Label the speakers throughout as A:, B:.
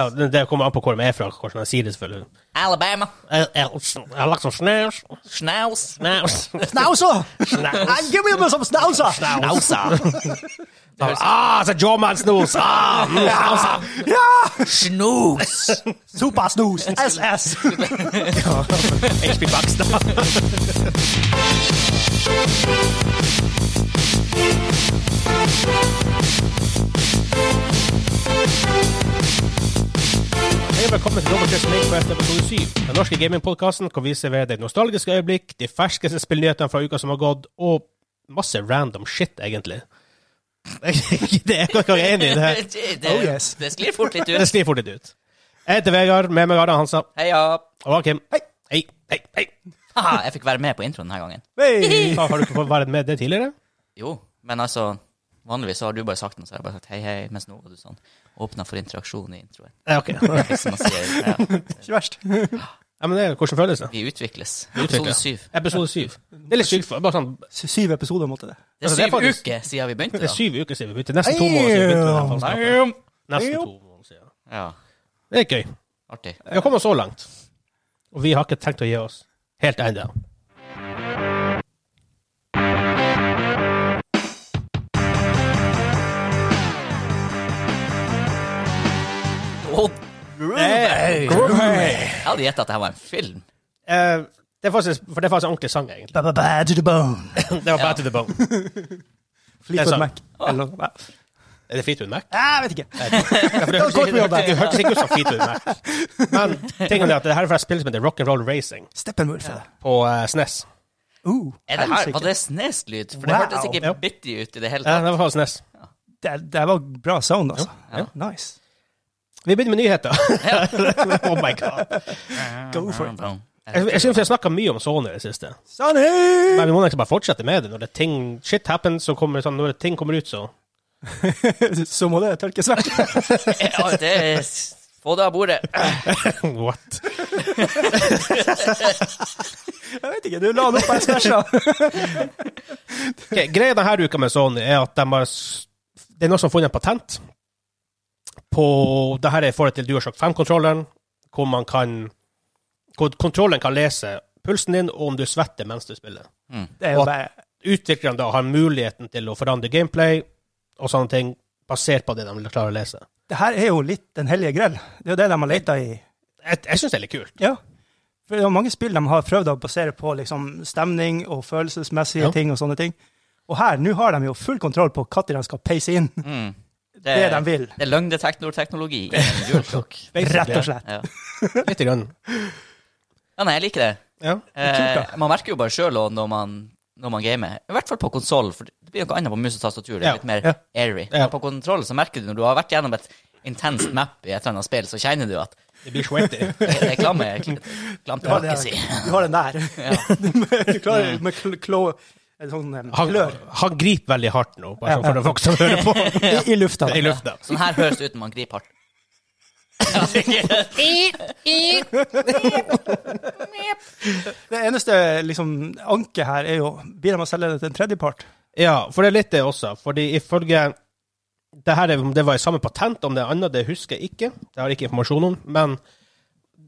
A: Ja, det det kommer an på hvor de er fra, hvordan de sier det, selvfølgelig.
B: Alabama.
A: Jeg, jeg, jeg har lagt sånn snaus,
B: Schnauz.
A: snaus,
C: Snauser!
A: snaus.
C: Give me some snauser!
A: Ah, så jawman-snus! Ah, mm, snauser.
C: Ja!
B: Schnoos.
C: Supersnus! SS!
A: HP Baxter. Hei og velkommen til Dobbeltkjørs Minecraft episode 7, den norske gamingpodkasten hvor vi serverer deg nostalgiske øyeblikk, de ferskeste spillnyhetene fra uka som har gått, og masse random shit, egentlig. det er ikke noe jeg er enig i det her.
B: Det,
C: Oh, yes.
B: det sklir fort litt
A: Det
B: ut.
A: sklir fort litt ut. Jeg heter Vegard, med meg Adam Hansa.
B: Heia.
A: Og Kim. Hei. Hei, hei, hei.
B: Haha, jeg fikk være med på introen denne gangen.
C: Hey.
A: Har du ikke fått være med det tidligere?
B: Jo, men altså Vanligvis så har du bare sagt noe, så har jeg bare sagt hei, hei, mens nå var du sånn åpna for interaksjon i introen.
A: Ja, ok.
B: Det er Som man sier, ja.
C: Ikke verst.
A: Ja, men det er hvordan føles det?
B: Vi utvikles.
A: Utvikles.
B: Episode syv.
A: Episode syv. Det er litt sykt. for- Bare sånn,
C: Syv episoder måtte det.
B: Det er
A: Altså, det er
B: syv
A: faktisk-
B: uker siden vi begynte,
A: det er
B: da.
A: syv uker siden vi begynte. Nesten to måneder siden vi begynte. med denne faenskapen.
B: Damn.
A: Nesten to måneder siden.
B: Ja,
A: Det er gøy.
B: artig.
A: Vi har kommet så langt. Og vi har ikke tenkt å gi oss helt ennå.
B: Åh,
A: Eh,
B: jeg hadde gjetta at dette var en film.
A: eh, Det er faktisk, for det er faktisk en ordentlig sang, egentlig.
C: Ba, ba, ba, to the bone.
A: Det var Bad to the Bone. Det er
C: Fleetwood
A: sant.
C: Mac. Eller noe.
A: Er det Fleetwood Mac?
C: Jeg vet ikke.
A: Ja, for det
C: Don't quote me on that.
A: det hørtes ikke ut som Fleetwood Mac. Men tingen er at det her er fra et spill som heter Rock'n'Roll Racing
C: Steppenwolf. Ja.
A: på eh, SNES.
C: Uh,
B: Er det her,
C: helsike.
B: var det sneslyd? For det
C: Wow.
B: hørtes
A: Ja.
B: ikke bitty ut i det hele
A: Ja,
B: tatt.
A: det var fra SNES.
C: det, det var bra sound, altså.
A: Ja.
C: Nice.
A: Vi begynner med nyheter. oh my god.
C: Go for it.
A: Jeg, jeg synes vi har snakka mye om Sony i det siste.
C: Sonny!
A: Men vi må egentlig bare fortsette med det. Når det ting, shit happens, så kommer, sånn, når det ting kommer ut, så
C: Så må det tørkes vekk.
B: Ja, det er s- Få det av bordet.
A: What?
C: Jeg vet ikke, du la den opp på smasha.
A: Ok, greia denne uka med Sony er at de har s- Det er noen som har funnet en patent på det her er i forhold til DualShock 5-kontrolleren, hvor man kan hvor kontrollen kan lese pulsen din og om du svetter mens du spiller.
C: Det er jo bare
A: Utviklerne da har muligheten til å forandre gameplay og sånne ting basert på det de klarer å lese.
C: Det her er jo litt Den hellige grell. Det er jo det de har leta i.
A: Jeg, jeg syns det er litt kult.
C: Ja. For det er mange spill de har prøvd å basere på liksom, stemning og følelsesmessige
A: Ja.
C: ting og sånne ting. Og her, nå har de jo full kontroll på når de skal peise inn.
B: Mm.
C: Det de vil.
B: Det er løgndetektorteknologi i en DualShock.
C: Rett og slett.
B: Ja.
A: Litt grann.
B: ja, nei, jeg liker det.
A: Ja.
C: kult,
B: Eh, man merker jo bare sjøl når, man- når man gamer. I hvert fall på konsoll, for det blir noe annet på mus og tastatur. Det er
A: Ja,
B: litt mer
C: ja.
B: airy.
A: Ja.
B: Men på kontroll så merker du når du har vært gjennom et intenst map i et eller annet spill, så kjenner du at eh,
A: Det blir sweaty.
B: det er klamme Klamt
C: Du har,
B: hakke, si.
C: den, du har den der. du klarer med kl klå en sånn em,
A: Han,
C: klør
A: han griper veldig hardt nå, bare sånn for de folk som hører på.
C: i, i lufta.
A: I lufta.
B: Sånn her høres det ut når man griper hardt.
C: Det eneste liksom, anket her er jo Blir de å selge det til en tredjepart?
A: Ja, for det er litt det også. Fordi ifølge det her, er- om det var i samme patent, om det er annet, det husker jeg ikke. Det har jeg ikke informasjon om. Men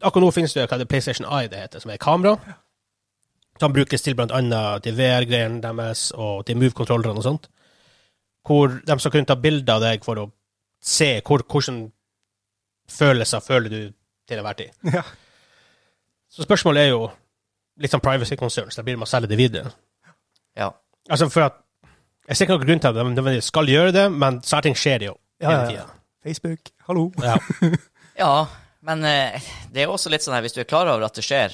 A: akkurat nå finnes det jo hva det PlayStation Eye det heter, som er et kamera. Som brukes til blant annet til VR-greiene deres og til Move-kontrollerne og sånt. Hvor de skal kunne ta bilder av deg for å se hvor, hvordan følelser føler du til enhver tid.
C: Ja.
A: Så spørsmålet er jo litt sånn privacy concerns. Da blir det med å selge det videre.
B: Ja.
A: Altså, for at Jeg ser ikke noen grunn til at de nødvendigvis skal gjøre det, men sånne ting skjer jo
C: Ja,
A: hele
C: ja, ja.
A: tiden.
C: Facebook, hallo.
A: Ja.
B: ja, men eh, det er jo også litt sånn her, hvis du er klar over at det skjer,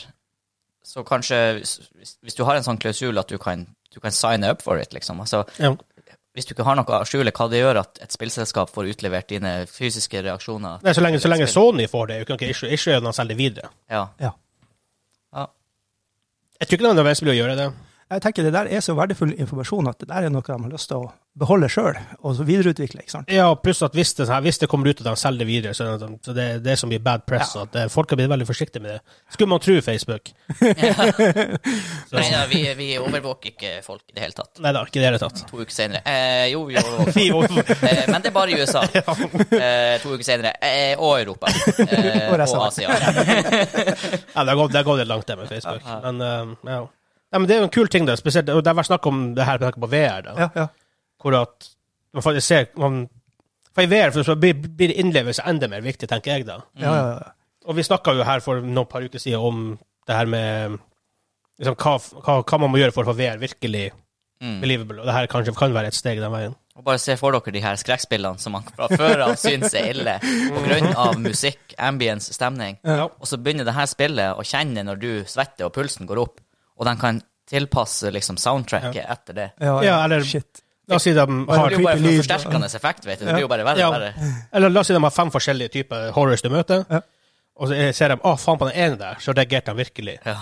B: så kanskje hvis- hvis, hvis du har en sånn klausul at du kan, du kan signe up for it, liksom. Altså,
A: Ja.
B: hvis du ikke har noe å skjule, hva det gjør at et spillselskap får utlevert dine fysiske reaksjoner.
A: Nei, så, lenge, så lenge Sony får det, er jo ikke noe issue, issue når de selger det videre.
B: Ja.
C: Ja.
B: ja.
A: Jeg tror ikke det er nødvendigvis å gjøre det.
C: Jeg tenker det der er så verdifull informasjon at det der er noe de har lyst til å beholde sjøl og så videreutvikle. ikke sant?
A: Ja, og pluss at hvis det, sånn her- hvis det kommer ut og de selger det videre, så er det, så det, det som blir bad press.
C: Ja.
A: At eh, folk har blitt veldig forsiktige med det. Skulle man tro Facebook.
B: Nei da, vi, vi overvåker ikke folk i det hele tatt.
A: Nei da, ikke i det hele tatt.
B: To uker senere. Eh, jo, vi overvåker.
A: Vi over-
B: Eh, men det er bare i USA. Eh, to uker senere. Eh, og Europa. Eh,
C: Og
B: og
C: resten av
B: Asia.
A: Ja, det har gått- det har gått litt langt, det med Facebook. Men, eh, ja. Nei, men det er jo en kul ting, da. Spesielt, og det har vært snakk om det her med tanke på VR. da.
C: Ja, ja.
A: hvor at man faktisk ser man, For i VR for så blir, blir innlevelse enda mer viktig, tenker jeg da.
C: ja, ja, ja.
A: Og vi snakka jo her for noen par uker siden om det her med liksom, hva, hva, hva man må gjøre for å få VR virkelig
B: Mm.
A: believable, og det her kanskje kan være et steg den veien.
B: Og bare se for dere de her skrekkspillene som man fra før av syns er ille, på grunn av musikk, ambience, stemning.
A: Ja.
B: Og så begynner det her spillet å kjenne når du svetter og pulsen går opp, og den kan tilpasse liksom soundtracket etter det.
C: ja,
A: Ja, eller-
C: Shit.
A: La oss si de
B: Det
A: har,
B: blir jo bare
C: creepy
B: en
C: lyd.
B: forsterkende effekt, vet du. Det blir jo bare verre
A: Ja.
B: og verre.
A: eller la oss si de har fem forskjellige typer horrors du møter,
C: Ja.
A: og så ser de å faen på den ene der, så reagerte han virkelig.
B: Ja.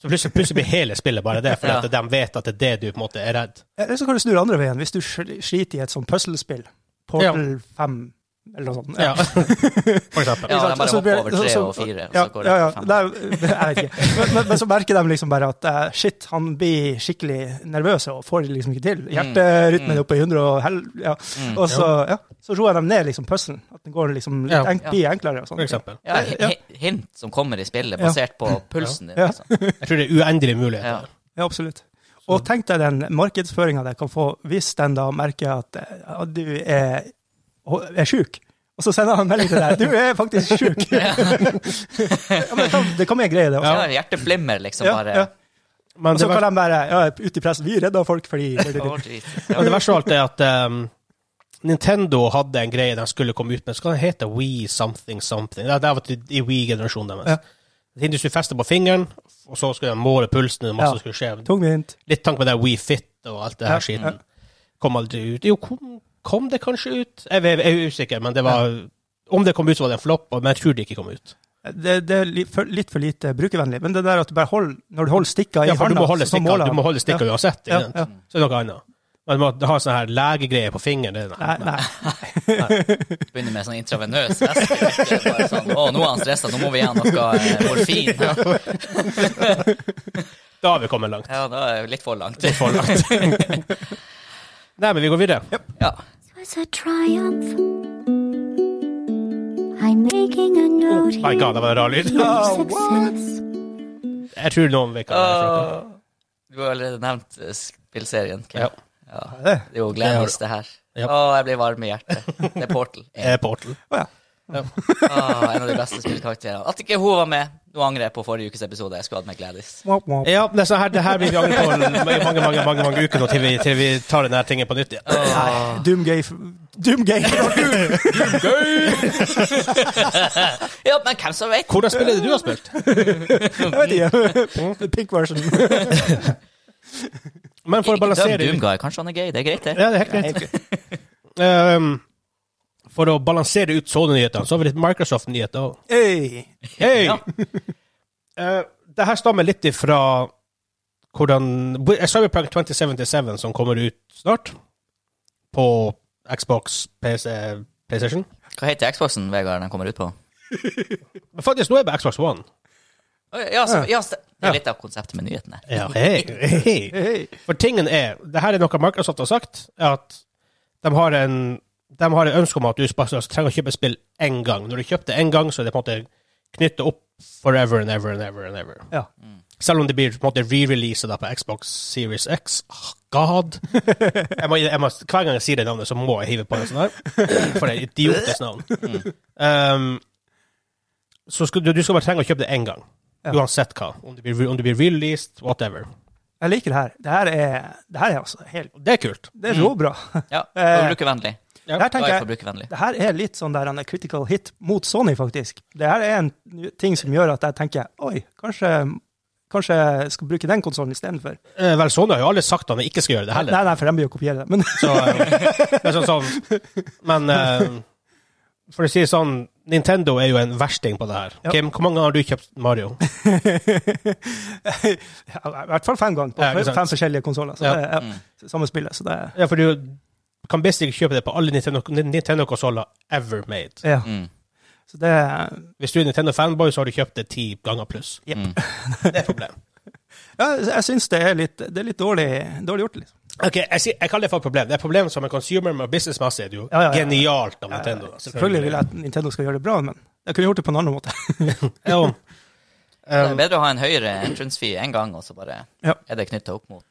A: Så plutselig, plutselig blir hele spillet bare det, fordi
B: Ja.
A: at de vet at det er det du på en måte er redd.
C: Eller så kan du snu det andre veien, hvis du sl- sliter i et sånt puslespill. Portal 5 eller noe sånt.
A: Ja. For eksempel.
B: Ja,
C: Ikke sant?
B: de bare
C: Altså,
B: hopper over
C: så-
B: tre
C: så-
B: og fire, og
C: ja,
B: så går det
C: ja, ja.
B: opp til fem.
C: Nei, jeg vet ikke. Men, men, men så merker de liksom bare at eh, shit, han blir skikkelig nervøs og får det liksom ikke til. Hjerterytmen er oppe i 100 og hel... Ja.
B: Mm.
C: Og så, ja, så roer de ned liksom puzzlen. At den går liksom litt
A: Ja.
C: enk, blir enklere og sånn.
A: For eksempel.
B: Ja, hi- hi- hint som kommer i spillet,
C: Ja.
B: basert på pulsen din.
C: Ja.
B: Liksom.
A: Jeg tror det er uendelige muligheter.
B: Ja.
C: Ja, absolutt. Og tenk deg den markedsføringa de kan få hvis den da merker at eh, at du er, er sjuk. Og så sender han en melding til deg. 'Du er faktisk sjuk'. ja, men det kan- det kan være en greie, det også.
B: Ja. Hjerteflimmer, liksom.
C: Ja,
B: bare
C: ja.
A: Men
C: Og så
A: det
C: kan de bare ja, ut i pressen 'Vi redda folk fordi
B: Å, Jesus.
A: Ja, det verste av alt er at ehm, Nintendo hadde en greie de skulle komme ut med. Skal den hete We something something? Det, det var til- i Wii-generasjonen deres.
C: Ja.
A: Det hindret du festet på fingeren, og så skulle de måle pulsen. og Masse
C: Ja.
A: skulle skje.
C: Tungvint.
A: Litt tanke på det We Fit og alt det her
C: Ja,
A: skiten.
C: ja.
A: Kom aldri ut. Jo, kom, kom det kanskje ut? Jeg, vet- jeg er usikker, men det var Om det kom ut, så var det en flopp, og- men jeg tror det ikke kom ut.
C: Det, det er litt for, litt for lite brukervennlig. Men det der at du bare hold, når du holder stikka i
A: Ja, for du
C: handa,
A: må holde
C: så måler
A: stikka, du
C: han.
A: må holde stikka
C: Ja.
A: uansett. ikke
C: Ja,
A: sant?
C: ja.
A: Så er det noe annet. Men du må ha sånne her legegreier på fingeren. Det, nei.
C: Nei, nei.
B: Begynner med sånn intravenøs væske. vet du, bare Sånn, å, nå er han stressa, nå må vi gi han noe eh, morfin. Ja,
A: Da har vi kommet langt.
B: ja da er det litt for langt.
A: for langt. Nei, men vi går videre.
B: Ja.
D: was a triumph. I'm making a note
A: Oh, My
D: here.
A: God, det var en rar lyd.
D: Huge success.
A: Jeg tror noen vet hva det er.
B: Du har allerede nevnt eh, spillserien. Kim.
A: Ja.
B: Ja.
C: Det.
B: Det er jo glamorous, det her.
A: Ja.
B: Å, jeg blir varm i hjertet. Det er Portal.
A: Eh, Portal.
C: Å, ja.
B: Å, en av de beste spillkarakterene. At ikke hun var med. Nå angrer jeg på forrige ukes episode. Jeg skulle hatt med Gladys.
C: Womp, womp.
A: Ja, det, er sånn her, det her blir vi angre på i mange, mange mange, mange uker nå til vi, til vi tar denne tingen på nytt igjen.
B: Åh.
C: Doomgay Doomgay!
B: Ja, men hvem som vet?
A: Hvordan spiller det du har spilt?
C: Jeg vet ikke. Pink version.
A: Men for å
B: Ikke døm
A: balansere
B: Doomguy. Kanskje han er gay. Det er greit, det.
A: Ja, det er helt greit. Ehm, for å balansere ut Sony-nyhetene, så har vi litt Microsoft-nyheter òg.
C: Hey.
A: Hey!
B: Ja.
A: Eh, det her stammer litt ifra hvordan Cyberpunk 2077, som kommer ut snart, på Xbox, PC, PlayStation
B: Hva heter Xboxen, Vegard, den kommer ut på?
A: Men faktisk, nå er det på Xbox One.
B: Å, Ja, så, ja, så, det er litt av konseptet med nyhetene.
A: Ja, hei, hei.
C: Hey.
A: For tingen er, det her er noe Microsoft har sagt, er at de har en de har et ønske om at du spa- altså, trenger å kjøpe et spill én gang. Når du kjøper det én gang, så er det på en måte knyttet opp forever and ever and ever. and ever.
C: Ja.
A: Selv om det blir på en måte re-releaset da på Xbox Series X. Ah, God! Jeg må, jeg må, hver gang jeg sier det navnet, så må jeg hive på en sånn her. For det er et idiotisk navn.
C: Mm.
A: Um, så skal, du, du skal bare trenge å kjøpe det én gang.
C: Ja.
A: Uansett hva. Om det blir, om det blir released, whatever.
C: Jeg liker det her. Det her er, det her er altså helt
A: Det er kult.
C: Det er råbra.
B: Ja,
C: Eh,
B: Forbrukervennlig.
C: Det her
B: Da
C: tenker
B: er
C: jeg
B: forbrukervennlig.
C: det her er litt sånn der en critical hit mot Sony, faktisk. Det her er en ting som gjør at jeg tenker Oi, kanskje Kanskje jeg skal bruke den konsollen istedenfor?
A: Eh, vel, Sony har jo aldri sagt at de ikke skal gjøre det
C: Nei,
A: heller.
C: nei, for de blir jo å kopiere det. Men
A: Så, eh, det er sånn, sånn, men eh, for å si det sånn, Nintendo er jo en versting på det her.
C: Ja.
A: Kim, hvor mange har du kjøpt Mario?
C: Ja, I hvert fall fem ganger på
A: Ja, ikke sant.
C: fem forskjellige konsoller.
A: Ja.
C: Ja.
B: Mm.
C: Samme spillet, så det er
A: Ja, for du kan basically kjøpe det på alle Nintendo- Nintendo-konsoller ever made.
C: ja.
B: Mm.
C: Så det er-
A: Hvis du er Nintendo-fanboy, så har du kjøpt det ti ganger pluss.
B: Mm.
A: Det er et problem.
C: ja, jeg syns det er litt, det er litt dårlig, dårlig gjort. Liksom.
A: Ok, jeg, sier, jeg kaller det for et problem. Det er et problem som en consumer, men businessmessig er det jo
C: Ja, ja, ja.
A: genialt av Nintendo. da,
C: Selvfølgelig vil jeg at Nintendo skal gjøre det bra, men jeg kunne gjort det på en annen måte.
A: Ja.
B: Det
A: Um,
B: er bedre å ha en høyere entrance fee en gang, og så bare
C: Ja.
B: er det knytta opp mot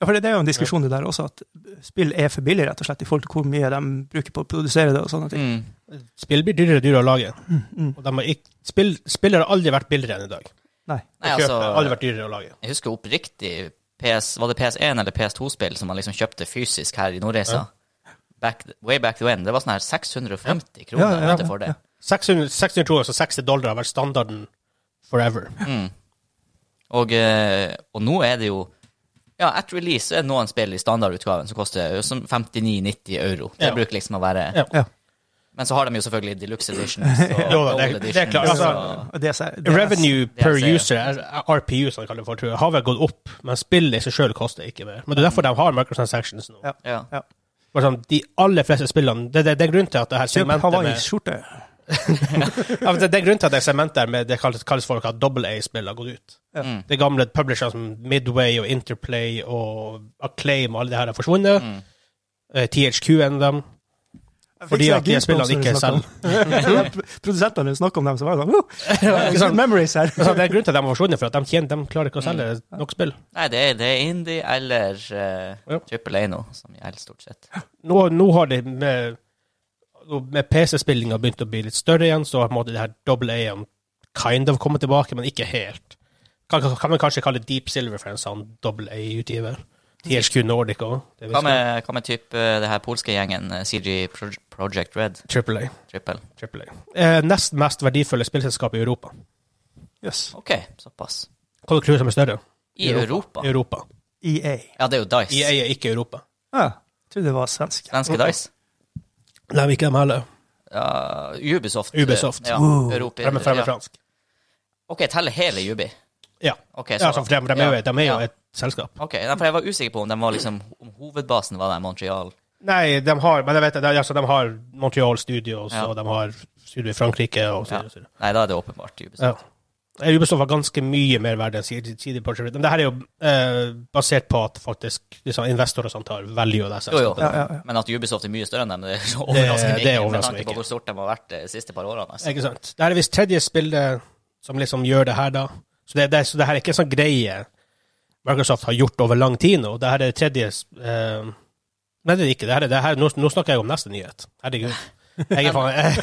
C: Ja, for det er jo en diskusjon det der også, at spill er for billig, rett og slett, i forhold til hvor mye de bruker på å produsere det og sånne ting.
B: mm.
A: spill blir dyrere og dyrere å lage.
C: Mm.
A: Og de har ikke, spill, spill har aldri vært billigere enn i dag.
C: Nei.
B: Nei,
A: Å kjøpe
B: altså,
A: har aldri vært dyrere å lage.
B: Jeg husker oppriktig PS, Var det PS1 eller PS2-spill som man liksom kjøpte fysisk her i Nordreisa? Back, way back when. Det var sånn her 650 kroner
C: Ja, ja, ja,
B: vet du, for det.
A: 600, 600 kroner, så 60 dollar har vært standarden forever.
B: Mm. Og, eh, og nå er det jo Ja, at release er det noen spill i standardutgaven som koster jo som 59,90 euro. Det
A: Ja.
B: bruker liksom å være
A: Ja.
C: Ja.
B: Men så har de jo selvfølgelig deluxe editions og
A: Jo da,
B: gold
A: det er- det er klart,
B: editions
A: altså,
B: og-
C: Og det er så- det er-
A: Revenue
B: det
A: per
B: jeg
A: user,
B: ser.
A: uh, er- er RPU som de kaller det for, tror jeg, har vel gått opp, men spill i seg selv koster ikke mer. Men det er derfor de har microtransactions nå.
C: Ja.
B: ja.
A: For sånn, de aller fleste spillene, det, det, det er grunnen til at det her
C: Kjøp
A: segmentet med,
C: Hawaii-skjorte.
A: ja, men det, det er grunnen til at det segmentet her med det kalles, kalles for at double A-spill har gått ut.
C: Ja.
B: Mm.
A: De gamle publisherne som Midway og Interplay og Acclaim og alle det her har forsvunnet.
B: Mm.
A: Eh, THQ er en av dem. Fordi at de spillene ikke selger.
C: Produsentene snakker om dem, så var det sånn oh,
A: Ikke sant?
C: good Memories her.
A: Altså, det er grunnen til at de har forsvunnet, for at de, tjener, de klarer ikke å selge
C: Mm.
A: nok spill.
B: Nei, det er, det er indie eller uh,
A: Ja.
B: Triple A nå, som gjelder stort sett.
A: nå, nå har det med, med PC-spillinga begynt å bli litt større igjen, så har på en måte det her double A-en kind of kommet tilbake, men ikke helt. Kan, kan man kanskje kalle Deep Silver for en sånn double A-utgiver? THQ Nordic òg.
B: Hva med, hva med typ eh, det her polske gjengen eh, CG Pro Project Red?
A: Triple A.
B: Triple.
A: Triple A. Eh, nest mest verdifulle spillselskap i Europa.
C: Yes.
B: OK, såpass.
A: Hva tror du som er større?
B: I Europa?
A: Europa.
C: EA.
B: Ja, det er jo Dice.
A: EA er ikke Europa.
C: Ja, E jeg trodde det var svensk.
B: Svenske Dice.
A: Nei, men ikke dem heller.
B: Ja, Ubisoft. eh,
A: Ubisoft. Uh,
B: Ja,
C: Wow.
B: Europa,
A: De er fra- de er
B: ja.
A: fransk.
B: OK, teller hele Ubi?
A: Ja.
B: Ok,
A: ja altså, for de, de er jo, de er jo
B: ja.
A: et selskap.
B: OK, nei, for jeg var usikker på om, de var liksom, om hovedbasen var der, Montreal.
A: Nei, de har, men jeg vet, de, altså, de har Montreal Studios,
B: Ja.
A: og de har studio i Frankrike og så
B: Ja.
A: videre. og så videre.
B: Nei, da er det åpenbart
A: Ja.
B: Ubisoft.
A: Eh, Ubisoft var ganske mye mer verdt enn CD CD Projekt Red. Men det her er jo eh, basert på at faktisk liksom, investorer og sånt har value av det.
B: Jo, jo.
A: selskapet.
C: Ja, ja, ja.
B: Men at Ubisoft er mye større enn dem, det er så overraskende
A: det er
B: ikke. Med
A: overraskende
B: tanke på
A: ikke.
B: hvor stort de har vært de siste par årene. Altså.
A: Ikke sant? Det her er visst tredje spillet som liksom gjør det her, da. Så det, det, så det her er ikke en sånn greie Microsoft har gjort over lang tid nå. Det her er det tredje eh, Nei, det er ikke det. Her er, det her, nå, nå snakker jeg om neste nyhet. Herregud. Jeg er faen,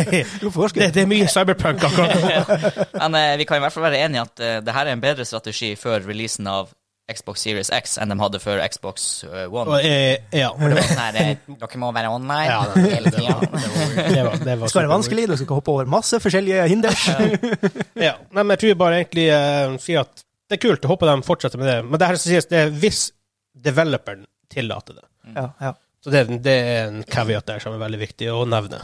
A: det, det er mye cyberpunk akkurat nå.
B: Men eh, vi kan i hvert fall være enige at eh, det her er en bedre strategi før releasen av Xbox Series X enn de hadde før Xbox eh, One.
A: Og, eh, ja.
B: For det var sånn her, eh, Dere må være online
A: Ja, det-
B: hele
A: det var-
B: tida.
A: Det var, det var
C: Det skal være
A: super-
C: vanskelig, du skal hoppe over masse forskjellige hinders.
A: Ja. Nei, men jeg tror bare egentlig uh, si at det er kult. Jeg håper de fortsetter med det. Men det her som sies, det er hvis developeren tillater det.
C: Ja, ja.
A: Så det, er- det er en caveat der som er veldig viktig å nevne.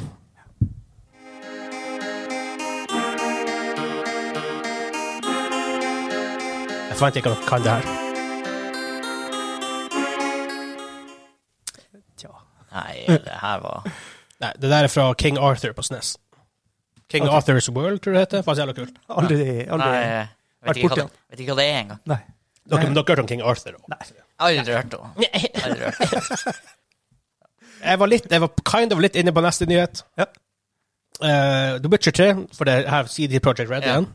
A: Jeg forventer ikke at dere kan det her.
C: Tja.
B: Nei, det her var
A: Nei, det der er fra King Arthur på SNES. King
C: Ok.
A: Arthur's World, tror jeg det heter. Faen, så jævla kult.
C: Aldri,
B: Nei,
C: aldri.
B: jeg vet ikke, hva
C: Vært borti
B: det, vet ikke hva det er engang.
C: Nei.
A: Dere, dere har hørt om King Arthur? også.
C: Nei.
B: Aldri hørt om Aldri hørt om.
A: Jeg var litt, jeg var kind of litt inne på neste nyhet.
C: Ja.
A: Eh, The Witcher 3, for det her CD Projekt Red
B: Ja.
A: igjen,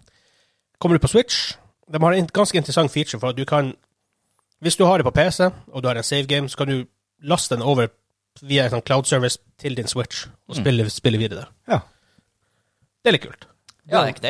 A: kommer du på Switch. De har en ganske interessant feature for at du kan Hvis du har det på PC, og du har en save game, så kan du laste den over via en sånn cloud service til din Switch og spille, spille videre der.
C: Ja.
A: Det er litt kult.
B: Ja, det er ikke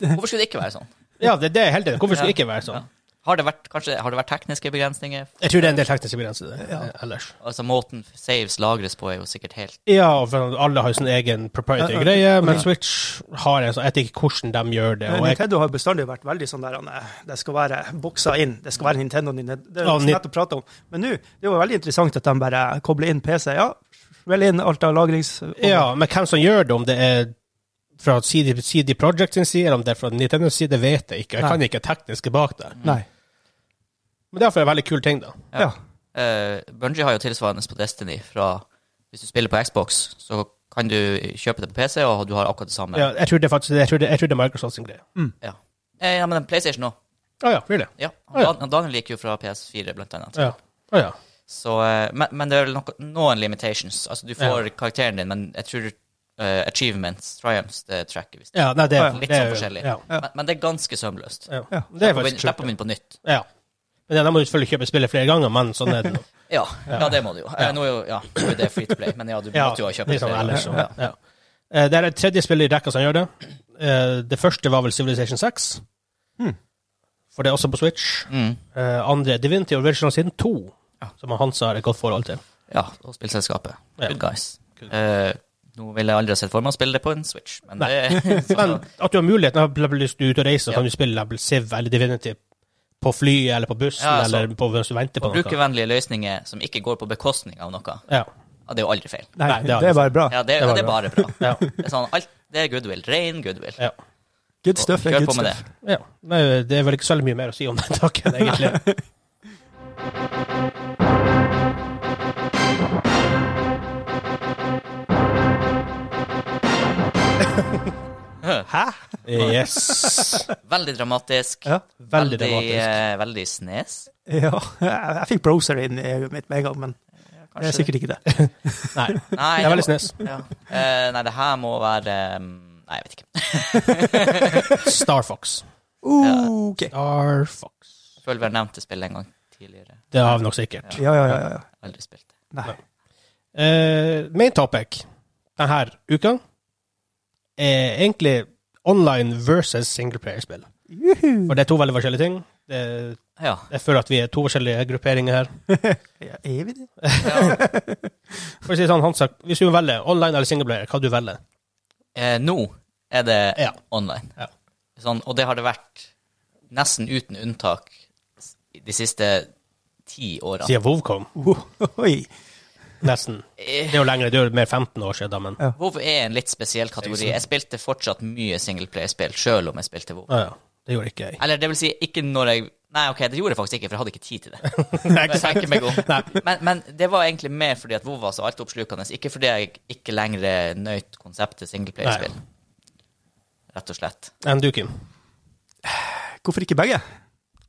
B: det Hvorfor skulle det ikke være sånn?
A: Ja, det, det er helt enig. Hvorfor skulle
B: Ja.
A: det ikke være sånn?
B: Har det vært, kanskje, har det vært tekniske begrensninger?
A: Jeg tror det er en del tekniske begrenser der, eh, ellers.
B: Altså, Måten saves lagres på, er jo sikkert helt
A: Ja, for alle har jo sin egen proprietary
C: Ja, ja.
A: greie, men Switch har en sånn Jeg vet ikke hvordan de gjør det. Og jeg,
C: Nintendo har bestandig vært veldig sånn der han er- det skal være boksa inn, det skal være Nintendo Nintendo, Det er
A: Ja,
C: jo
A: Ni-
C: lett å prate om. Men nå, det var veldig interessant at de bare kobler inn PC. Ja, vel inn alt av lagrings...
A: ja, men hvem som gjør det, om det er fra CD, CD Projekt sin side, eller om det er fra Nintendo sin side, vet jeg ikke. Jeg
C: Nei.
A: kan ikke tekniske bak det.
C: Nei.
A: Men det er iallfall en veldig kul ting, da.
B: Ja.
C: Ja.
B: Uh, Bungie har jo tilsvarende på Destiny. Fra, hvis du spiller på Xbox, så kan du kjøpe det på PC, og du har akkurat det samme.
A: Ja, jeg tror det er faktisk jeg tror det, jeg tror det er Microsoft sin greie.
B: Ja. Eh, ja, men PlayStation òg.
A: Å ja, really?
B: Ja.
A: Ah, ja.
B: Dan- Daniel gikk jo fra PS4, blant annet.
A: Ja. Å ja.
B: Så, eh, men, men det er vel noe- noen limitations. Altså, du får karakteren din, men jeg tror eh, achievements, triumphs, det tracker visst.
A: ja. Nei, det
C: Å
A: er
C: ja,
A: det
B: litt
A: er
B: sånn
A: jo-
B: forskjellig.
A: Ja.
C: Ja.
B: Men, men det er ganske sømløst.
A: ja.
C: Ja.
A: Det er faktisk
B: Slipper å
A: kult.
B: begynne på nytt.
A: Ja. Men ja, da må du selvfølgelig kjøpe spillet flere ganger, men sånn er det nå.
B: Ja, ja. det må du jo. Eh, Nå er jo ja, nå er det free to play, men ja, du
A: Ja,
B: måtte jo ha kjøpt
A: litt sånn
B: det.
A: ellers. så,
C: Ja.
A: Ja. Eh, Det er det tredje spillet i rekka som gjør det. Eh, Det første var vel Civilization 6.
C: Hmm.
A: For det er også på Switch.
B: Mm.
A: Eh, Andre Divinity Original Sin 2,
B: Ja.
A: som Hans har et godt forhold til.
B: Ja, og spillselskapet.
A: Ja.
B: Good guys.
A: Good.
B: Eh, nå ville jeg aldri ha sett for meg å spille det på en Switch, men det
A: Men at du har muligheten, har du lyst til å ut og reise, så
B: Ja.
A: kan du spille Level Civ eller Divinity på flyet eller på bussen
B: Ja, altså, så-
A: eller på, hvis du venter på
B: Og
A: noe.
B: brukervennlige løsninger som ikke går på bekostning av noe,
A: Ja.
B: ja, det er jo aldri feil.
C: Nei,
A: Nei, det er
C: det er bare bra.
B: Ja, det,
A: Det
B: det,
A: var
B: er bare bra.
A: Ja.
B: Det er, sånn, alt, det er goodwill. Ren goodwill.
A: ja.
C: Good stuff er
B: Kjør
C: good
B: på med
C: stuff.
B: det.
A: ja. Nei, det er vel ikke så veldig mye mer å si om den takken, egentlig.
C: Hæ?
A: Yes.
B: Veldig dramatisk.
C: Ja.
A: Veldig dramatisk.
B: eh, veldig snes.
C: Ja, jeg jeg fikk browser inn i øyet mitt med en gang, men det er sikkert ikke det.
A: Nei,
B: Nei,
A: det er
B: må-
A: veldig snes.
B: Ja. Eh, nei, det her må være eh, Nei, jeg vet ikke.
A: Star Fox. Uh!
C: OK.
A: Star Fox.
B: Jeg føler vi har nevnt det spillet en gang tidligere.
A: Det har vi nok sikkert.
C: Ja, ja, ja. ja, ja.
B: Aldri spilt det.
C: Nei.
A: Eh, main topic denne uka er egentlig online versus singleplayerspill. For det er to veldig forskjellige ting. Det,
B: Ja.
A: jeg føler at vi er to forskjellige grupperinger her.
C: Ja, Er vi det?
B: ja.
A: For å si det sånn, Hansa, hvis du velger online eller singleplayer, hva du velger
B: Eh, nå er det
A: Ja.
B: online.
A: Ja.
B: Sånn, og det har det vært nesten uten unntak s- de siste ti årene.
A: siden WoW kom?
C: Oi.
A: Nesten.
B: Eh,
A: Det er jo lengre, det er jo mer 15 år siden, men
C: Ja.
B: WoW er en litt spesiell kategori. Jeg spilte fortsatt mye singleplayerspill, sjøl om jeg spilte WoW.
A: Å ja, det gjorde ikke jeg.
B: Eller det vil si, ikke når jeg Nei, ok, det gjorde jeg faktisk ikke, for jeg hadde ikke tid til det.
A: Nei,
B: Jeg
A: ikke sant?
B: tenker meg om. Men, men det var egentlig mer fordi at WoW var så altoppslukende, ikke fordi jeg ikke lenger nøt konseptet singleplayerspill. Rett og slett.
A: Enn du, Kim?
C: Hvorfor ikke begge?